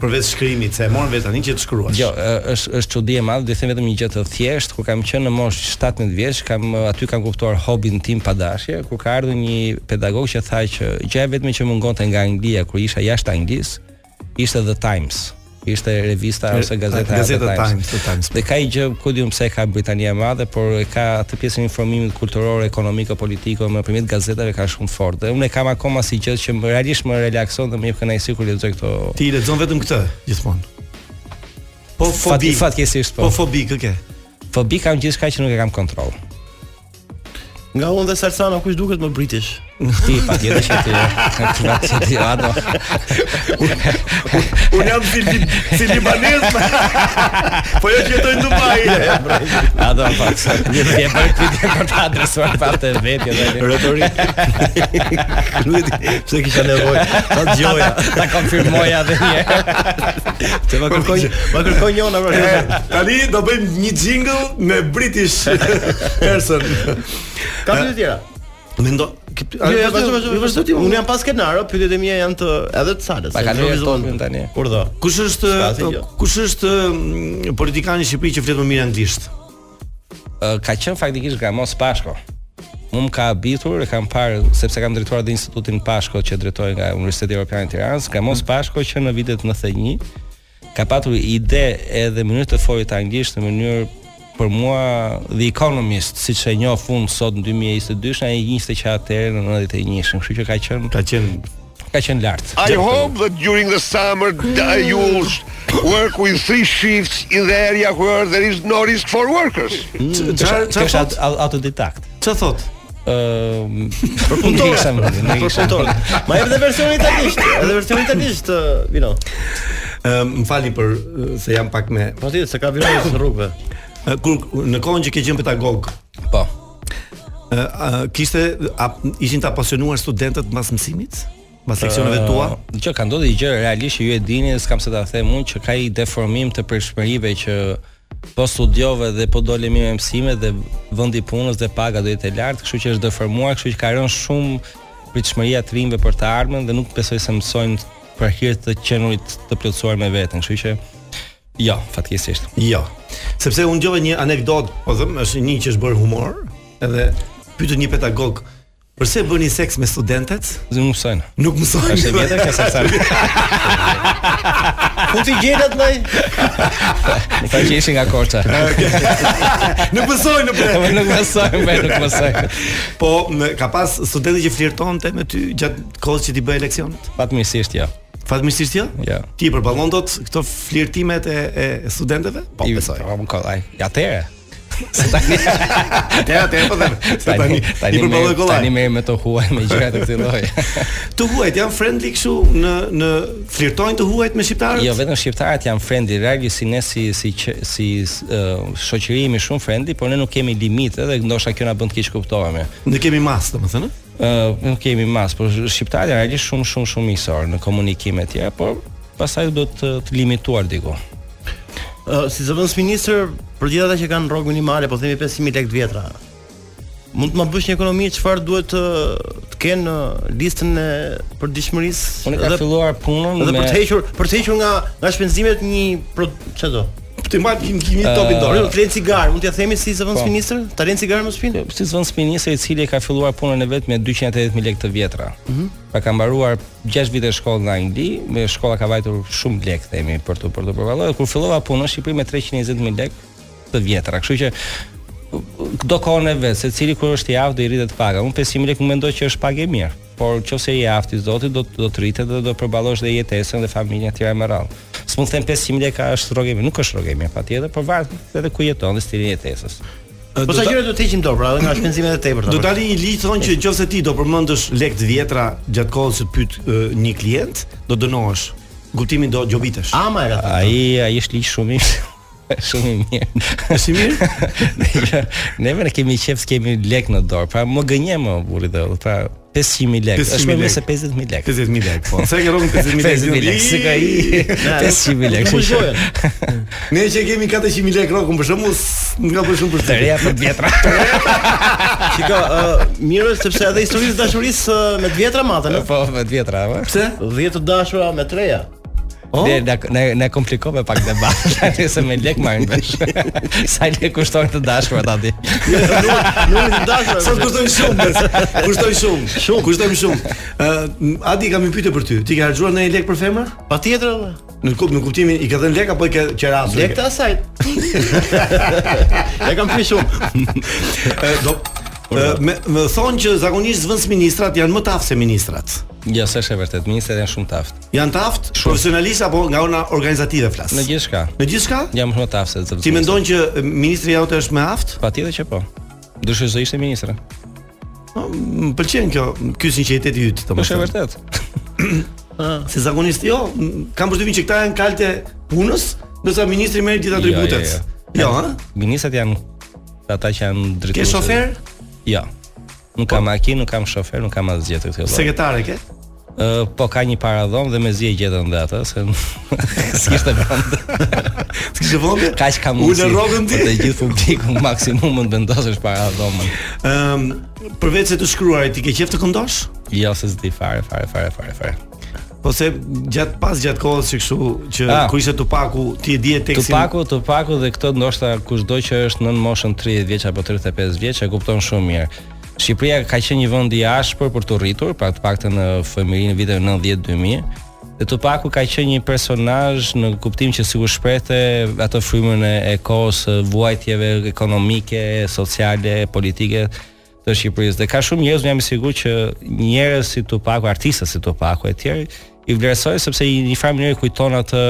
Përveç shkrimit, se e morën vetë tani që të shkruash.
jo, ë, është është çudi e madhe, do të them vetëm një gjë të thjeshtë, kur kam qenë në moshë 17 vjeç, kam ë, aty kam kuptuar hobin tim pa dashje, kur ka ardhur një pedagog që tha që gjëja vetme që më ngonte nga Anglia kur isha jashtë Anglisë, ishte The Times. Ishte revista ose gazeta e
Gazeta Times, The Times.
Dhe ka i gjë ku diun pse e ka Britania e Madhe, por e ka atë pjesën e informimit kulturor, ekonomiko, politiko me përmjet gazetave ka shumë fort. Dhe unë e kam akoma si gjë që më realisht më relakson dhe më jep kënaqësi kur lexoj këto
Ti i lexon vetëm këtë gjithmonë. Po
Fat,
fobi.
fatkesisht po.
Po fobi kë ke?
Fobi kam gjithçka që nuk e kam kontroll.
Nga unë dhe Salsana kush duket më british?
Ti patjetër që ti. Nga që ti ato.
Unë jam si li, si libanez. po jo që jetoj në Dubai.
Ato pak. Një ti e bën ti për ta adresuar pa të vetë dhe
retorik. Nuk e di pse kisha nevojë. Ta dëgjoja,
ta konfirmoja edhe një herë.
Të më kërkoj, më kërkoj një ona për.
Tani do bëjmë një jingle me British person.
Ka dy tjera.
Mendo,
Jo, jo, vazhdo, vazhdo, vazhdo ti. Unë jam pas Kenaro, pyetjet e mia janë të edhe të Salës.
Pa kaloj topin tani.
Kur do?
Kush është
jo.
kush është mm, politikani i Shqipërisë që flet më mirë anglisht?
Ka qenë faktikisht Gamos Pashko. Unë më ka abitur, e kam parë sepse kam drejtuar dhe Institutin Pashko që drejtoi nga Universiteti Evropian i Tiranës, Gamos Pashko që në vitet 91 ka patur ide edhe mënyrë të folur të anglisht në mënyrë për mua The Economist, siç e njoh fund sot në 2022, ai 20 që atëherë në 91-shin, kështu që ka qenë
Ka qenë
ka qenë lart.
I hope that during the summer uh, you work with three shifts in the area where there is no risk for workers.
Mm, çfarë
Kjo është
çfarë
aut- au- autodidakt.
çfarë thot?
Ëm,
Për
Nuk e kisha
punëtorët.
mendin, nuk e
Për
kisha.
punëtorët. Ma jep edhe versionin italisht, edhe versionin italisht, uh, ë, Vino.
Ëm, Më fali për ë, se jam pak me
Po ti se ka virus në rrugëve.
Ë, kur në kohën që ke qenë pedagog,
Po.
ë, a, kishte a, ishin të apasionuar studentët mbas mësimit? Mbas seksioneve tua?
Ë, Që ka ndodhur gjë realisht që ju e dini, s'kam se ta them unë që ka i deformim të përshmërive që po studiove dhe po dole mirë me mësimet dhe vendi punës dhe paga do jetë e lartë, kështu që është deformuar, kështu që ka rënë shumë pritshmëria të rinjve për të ardhmen dhe nuk besoj se mësojnë për hir të qenurit të plotësuar me veten, kështu që jo, fatkeqësisht.
Jo. Sepse unë dëgjova një anekdot, po them, është një që është bërë humor, edhe pyetën një pedagog, "Përse bëni seks me studentët?"
Zë nuk mësojnë.
Nuk mësojnë.
Është e vjetër ka sa.
Ku ti gjetet vllai?
Sa që ishin nga Korça.
Nuk mësojnë në bre.
Nuk mësojnë, be, nuk mësojnë.
Po, më, ka pas studentë që flirtonte me ty gjatë kohës që ti bëj leksionet?
Fatmirësisht jo.
Fatmirësisht jo?
Jo.
Ti i përballon dot këto flirtimet e, e, e studentëve? Po,
I-
besoj.
Po, më kollaj. Ja tere. Se tani
Ja, te po them. Se
tani
tani,
tani
i përballoj
merr-
kollaj.
tani merr me të huaj me gjëra të këtij lloji.
Të huajt janë friendly kështu në në flirtojnë të huajt me shqiptarët?
Jo vetëm shqiptarët janë friendly, realisht si ne si si q- si uh, shoqëri jemi shumë friendly, por ne nuk kemi limite dhe ndoshta kjo na bën të keq kuptohemi.
Ne kemi mas, domethënë.
Ë nuk kemi mas, por shqiptarët janë realisht shumë shumë shumë miqësor në komunikime të tjera, por pastaj do të, të limituar diku.
Ë, Uh, si zëvendës ministër, për gjithë ata që kanë rrogë minimale, po themi 5000 lekë të vjetra. Mund të ma bësh një ekonomi çfarë duhet të, të kenë në listën e përditshmërisë
Unë kam filluar punën
Dhe
me
për të hequr, për të hequr nga nga shpenzimet një pro- çfarë do?
Ti mbaj kim kimi topin
Por
jo,
dorë.
nuk flen cigare, mund t'ia themi si zëvendës
Po.
ministër? Ta len cigare mos pinë?
si zvendës ministër i cili ka filluar punën e vet me 280.000 lekë të vjetra. Mm Pra ka mbaruar 6 vite shkollë në Angli, me shkolla ka vajtur shumë lekë themi për të për të përballuar. Kur fillova punën në Shqipëri me 320.000 lekë të vjetra. Kështu që do kohën e vet, secili kur është i aftë do i rritet paga. Unë 5.000 lekë nuk mendoj që është pagë e mirë, por nëse je i aftë i Zotit do do të rritet dhe do përballosh dhe jetesën dhe familjen e tjera me radhë. S'mund të them 500 lekë është rrogë e mirë, nuk është rrogë e mirë patjetër, por varet edhe ku jeton dhe stilin e jetesës.
Po sa gjëra do të heqim dorë, pra edhe nga shpenzimet e tepërta.
Do tani një ligj thonë që nëse ti do përmendësh lekë të vjetra gjatë kohës që të pyet ë, një klient, do dënohesh. Kuptimin do gjobitesh.
Ah.
ama era.
Ai ai është ligj shumë i shumë i mirë.
Është i mirë?
Ne- Neve ne kemi qef kemi lek në dorë. Pra më gënje më burri dhe pra 500000 lek.
500.000
Është më
lek.
mirë se 50000 lek.
50000 lekë, po. Sa e ke rrogën 50000
50000
lekë?
lek, si ka i 50000 lek.
Nuk
kështu që-
pushojën.
Ne që kemi 400000 lekë rrogën për shembull, s- nga për shumë për
Të reja për të vjetra.
Shiko, ë mirë është sepse edhe historisë dashurisë ë, me të vjetra matën. ë.
Po me të vjetra, apo?
10 të dashura me treja.
Ne na na, na komplikove pak debat. Tani se me lek marrin vesh. Sa lek kushton të dashurat aty?
Numri të dashura.
Sa të kushtojnë shumë, bes. kushtojnë shumë, shumë, kushtojnë shumë. Ë, Adi kam një pyetje për ty. Ti ke harxuar ndonjë lek për femra?
Patjetër. valla.
Në kup, në kuptimin i ka dhënë lek apo i ke qerasur?
Lek të asaj. E kam pyet shumë.
Ë, do Ë, me, me thonë që zakonisht zëvendësministrat janë më të aftë se ministrat.
Jo, s'është e vërtet. Ministrat janë shumë taft.
Janë të aftë profesionalisht apo nga ona organizative flas.
Në gjithçka.
Në gjithçka,
Jam shumë taft se zëvendësministrat.
ti mendon që e, ministri jote është më aft?
Patjetër që po. Dëshoj se ishte ministra.
Po, më pëlqen kjo, ky sinqeriteti i yt,
Po,
domethënë.
Është e vërtet.
Se zakonisht jo, m- kam përshtypjen që këta janë kalte punës, ndërsa ministri merr gjithë atributet. Jo, ha?
Ministrat janë ata që janë drejtues.
Ke shofer?
Jo. Nuk kam makinë, nuk kam shofer, nuk kam asgjë të këtij lloji.
Sekretare ke?
Ë, po ka një paradhom dhe me zi e gjetën dhe atë, se s'kishte vend.
S'kishte vend?
Kaq kam
Ulë rrogën ti?
për Të gjithë publikun maksimumën të vendosësh paradhomën.
Ëm, Ehm, përveç se të shkruarit, ti ke qejf të këndosh?
Jo, se s'di fare, fare, fare, fare, fare.
Po se gjatë pas gjatë kohës që kështu që
Ah.
kur ishte Tupaku, ti e dije tekstin.
Tupaku, Tupaku dhe këtë ndoshta kushdo që është nën moshën 30 vjeç apo 35 vjeç e kupton shumë mirë. Shqipëria ka qenë një vend i ashpër për të rritur, pra të paktën në fëmijërinë e viteve 90-2000. Dhe Tupaku ka qenë një personazh në kuptim që sikur shprehte atë frymën e e kohës e vuajtjeve ekonomike, sociale, politike të Shqipërisë. Dhe ka shumë njerëz, unë jam i sigurt që njerëz si Tupaku, artistë si Tupaku e tjerë i vlerësoj sepse i një farë mënyrë kujton atë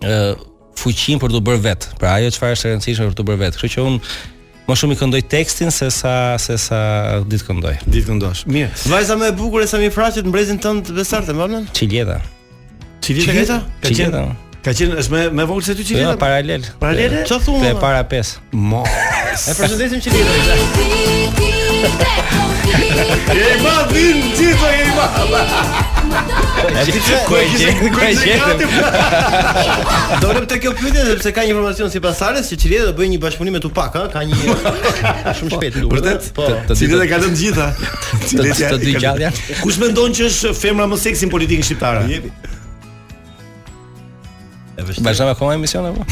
ë fuqin për të bërë vet. Pra ajo çfarë është e rëndësishme për të bërë vet. Kështu që unë më shumë i këndoj tekstin se sa se sa ditë këndoj.
Ditë këndosh. Mirë.
Vajza më e bukur e Sami Fraqet mbrezin tënd besarte, më vjen?
Çiljeta.
Çilita
Çilita?
Çilita? Ka
Çilita.
qenë Ka qenë është më më vogël se ty Çilita?
Jo, paralel.
Paralele?
Ço
thumë,
Te
ama?
para 5.
Mo.
E përshëndesim Çilita.
Je i madh, vin, gjithë je i madh.
E di pse
Ku e gjen? Ku e gjen?
Dolëm te kjo pyetje sepse ka një informacion sipas Sarës që Çileta do bëjë një bashkëpunim me Tupac, ha? Ka një shumë shpejt duket.
Vërtet?
Po.
të dy-
Çilita ka lënë gjitha. Çilita.
të dy
ka-
gjallë janë.
Kush mendon që është femra më seksi në politikën shqiptare? Jepi.
Vazhdojmë akoma emision apo?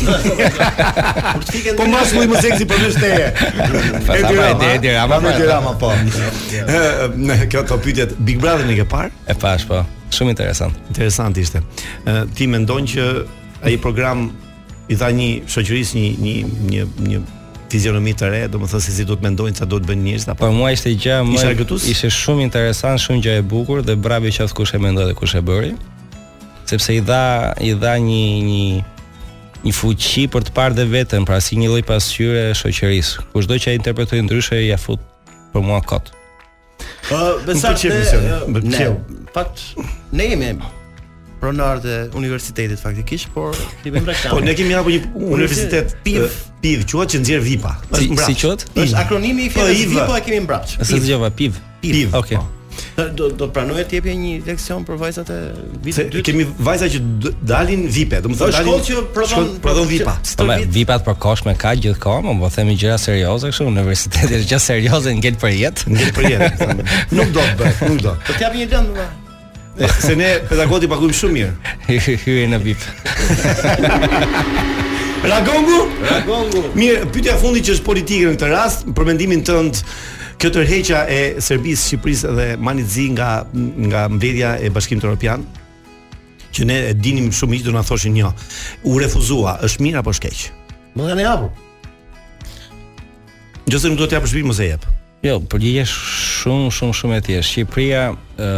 Po maskulli më seksi përveç teje.
Fasa
Edi
pa
Rama,
ide,
ha?
Edi Rama.
Edi
pra.
Rama, po. Ë, në Kjo to pyetjet Big Brother në ke parë?
E pash po. Shumë interesant.
Interesant ishte. Ë, ti mendon që ai program i dha një shoqërisë një një një një fizionomi të re, domethënë se si duhet mendojnë, çfarë duhet bëjnë njerëzit apo
Për Po, mua ishte gjë më
Ishe argëtues?
ishte shumë interesant, shumë gjë e bukur dhe bravi qoftë kush e mendoi dhe kush e bëri. Sepse i dha i dha një një një fuqi për të parë dhe veten, pra si një lloj pasqyre e shoqërisë. Kushdo që e interpretoi ndryshe ja fut për mua kot.
Ë, besar.
Më pëlqeu misioni, më pëlqeu.
Fakt, ne jemi pronar të universitetit faktikisht, por i bëjmë reklam.
Po ne kemi hapur një universitet
PIV.
PIV, PIV quhet që nxjerr VIPA.
Si,
Është mbrapsht.
si quhet?
Është akronimi i fjalës
PIV.
VIPO e kemi mbrapsht.
Se dëgjova piv.
PIV.
Okej.
Do do pranohet të jepje një leksion për vajzat e
Se
vitit dytë.
kemi vajza që d- dalin VIPe, domethënë
Është
dalin.
shkollë që prodhon-
shkollë prodhon VIPA.
që-
Po me
Stërvit.
vipat përkohshme ka gjithkohë, më po themi gjëra serioze kështu, universiteti është gjë serioze, ngel për jetë.
Ngel për jetë. thënë. Nuk do të bëj, nuk do.
Do të jap një lëndë më.
E, Se ne pedagogët i paguajmë shumë mirë.
Hyri në vip.
Ragongu?
Gongu.
Mirë, pyetja e fundit që është politike në këtë rast, për mendimin tënd, kjo tërheqja e Serbisë, Shqipërisë dhe Manizi nga nga mbledhja e Bashkimit Evropian, që ne e dinim shumë hiç do na thoshin jo. U refuzua, është mirë apo është keq?
Më kanë hapur.
Nëse nuk do të japësh shpinë mos e jep.
Jo, përgjigje shumë shumë shumë e thjeshtë. Shqipëria ë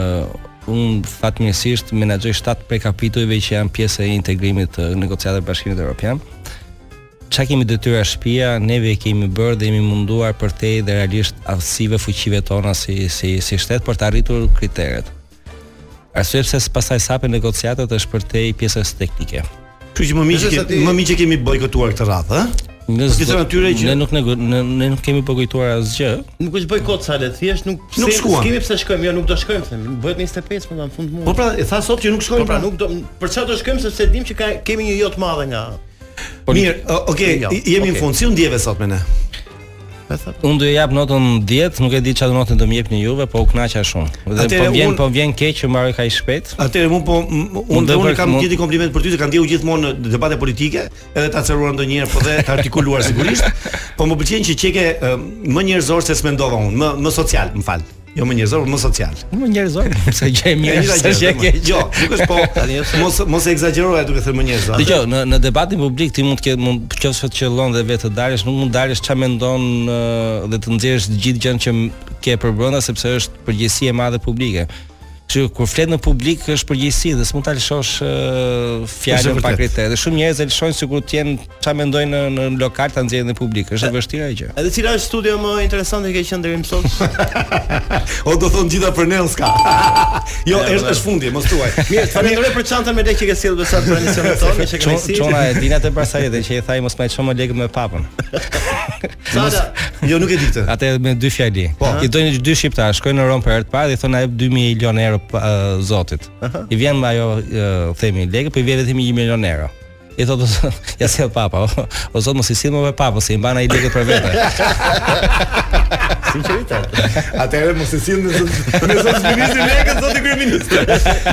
un fatmirësisht menaxhoj 7 prej kapitujve që janë pjesë e integrimit të negociatave të Bashkimit Evropian. Çka kemi detyra shtëpia, neve e kemi bërë dhe jemi munduar për te dhe realisht aftësive fuqive tona si si si shtet për të arritur kriteret. Arsye pse pastaj sape negociatat është për te pjesës teknike.
Kështu që më miq
Nëse
që
sa ti-
më miq që kemi bojkotuar këtë radhë, ë?
Në
Po, këto
zdo-
natyre që-
ne nuk nego- ne, ne nuk kemi përkujtuar asgjë,
Nuk është bëj kot sale, thjesht nuk
Nuk
se-
shkuam.
S'kemi pse shkojmë, jo, nuk do shkojmë themi. Bëhet 25 më në fund mundi.
Po pra, e tha sot që nuk
Po
shkojnë.
pra nuk do për çfarë do shkojmë sepse dim që ka kemi një jot madhe nga.
por
Mirë, o- okay,
Jo,
i- jemi në
okay.
fund. Si u ndjeve sot me ne?
Unë do i jap notën 10, nuk e di çfarë notën do më jepni juve, po u kënaqa shumë. Dhe
Atëre
po vjen
unë-
po vjen keq që mbaroj kaq shpejt.
Atëherë unë po m- unë
Unë
dhe
do
unë
për-
kam
mund-
gjithë kompliment për ty se kam ndjehu gjithmonë në debate politike, edhe ta ceruar ndonjëherë, po dhe ta artikuluar sigurisht, po më pëlqen që çike ë, më njerëzor se s'mendova unë, më më social, më fal. Jo më njerëzor, por më social.
Unë njerëzoj, se gjë e mirë,
njëjta
se gjë e
domethënë.
keq.
Jo, nuk është po. Mos mos e egzagjeroja duke thënë më njerëzor.
Dgjoj, në në debatin publik ti mund të ke mund qoftë të qellon dhe vetë të dalësh, nuk mund dalësh çfarë mendon ë, dhe të nxjerrësh të gjithë gjën që m- ke për brenda sepse është përgjegjësi e madhe publike. që kur flet në publik është përgjegjësi dhe s'mund ta lëshosh uh,
Është
fjalën
e
pa
vërtet.
krite. Dhe shumë njerëz e lëshojnë sikur të jenë çfarë mendojnë në, në lokal ta nxjerrin në publik. Është e vështirë ajo gjë.
Edhe cila është studio më interesante që ke qenë deri më sot?
O do thon gjitha për Nels ka. jo,
Ja,
është
vërtet.
është fundi, mos tuaj.
Mirë, të falenderoj për çantën me lekë që ke sjellë besat për emisionin tonë, që kemi si.
Çona e dinat e Barsarit dhe që i thaj mos më çon lekë me papën.
Sada,
Jo, nuk e di këtë.
Atë me dy fjali.
Po.
I dojnë dy shqiptar, shkojnë në Rom për herë të parë dhe i thonë na jep 2 milion euro pa- ë, zotit. I vjen me ajo ë, themi lekë, po i vjen vetëm 1 milion euro. I thotë, "O zot, ja sjell papa, o, o zot mos i sill më me papa, se i mban ai lekët për vete.
Sinqeritet.
Atëherë mos e sill me zot- me zot ministrin lekët zoti kryeminist.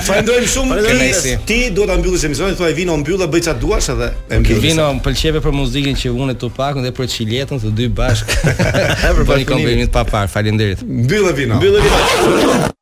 Falenderojmë shumë.
Falenderojmë.
Ti, ti duhet ta mbyllësh emisionin, thuaj vino mbyllë, bëj çfarë duash edhe e mbyllësh.
Vino më pëlqeve për muzikën që unë e Tupakun dhe për Çiletën të dy bashkë.
Për
Për një
bashkëpunimi.
kombinim të papar. Faleminderit.
Mbyllë vino.
Mbyllë vino.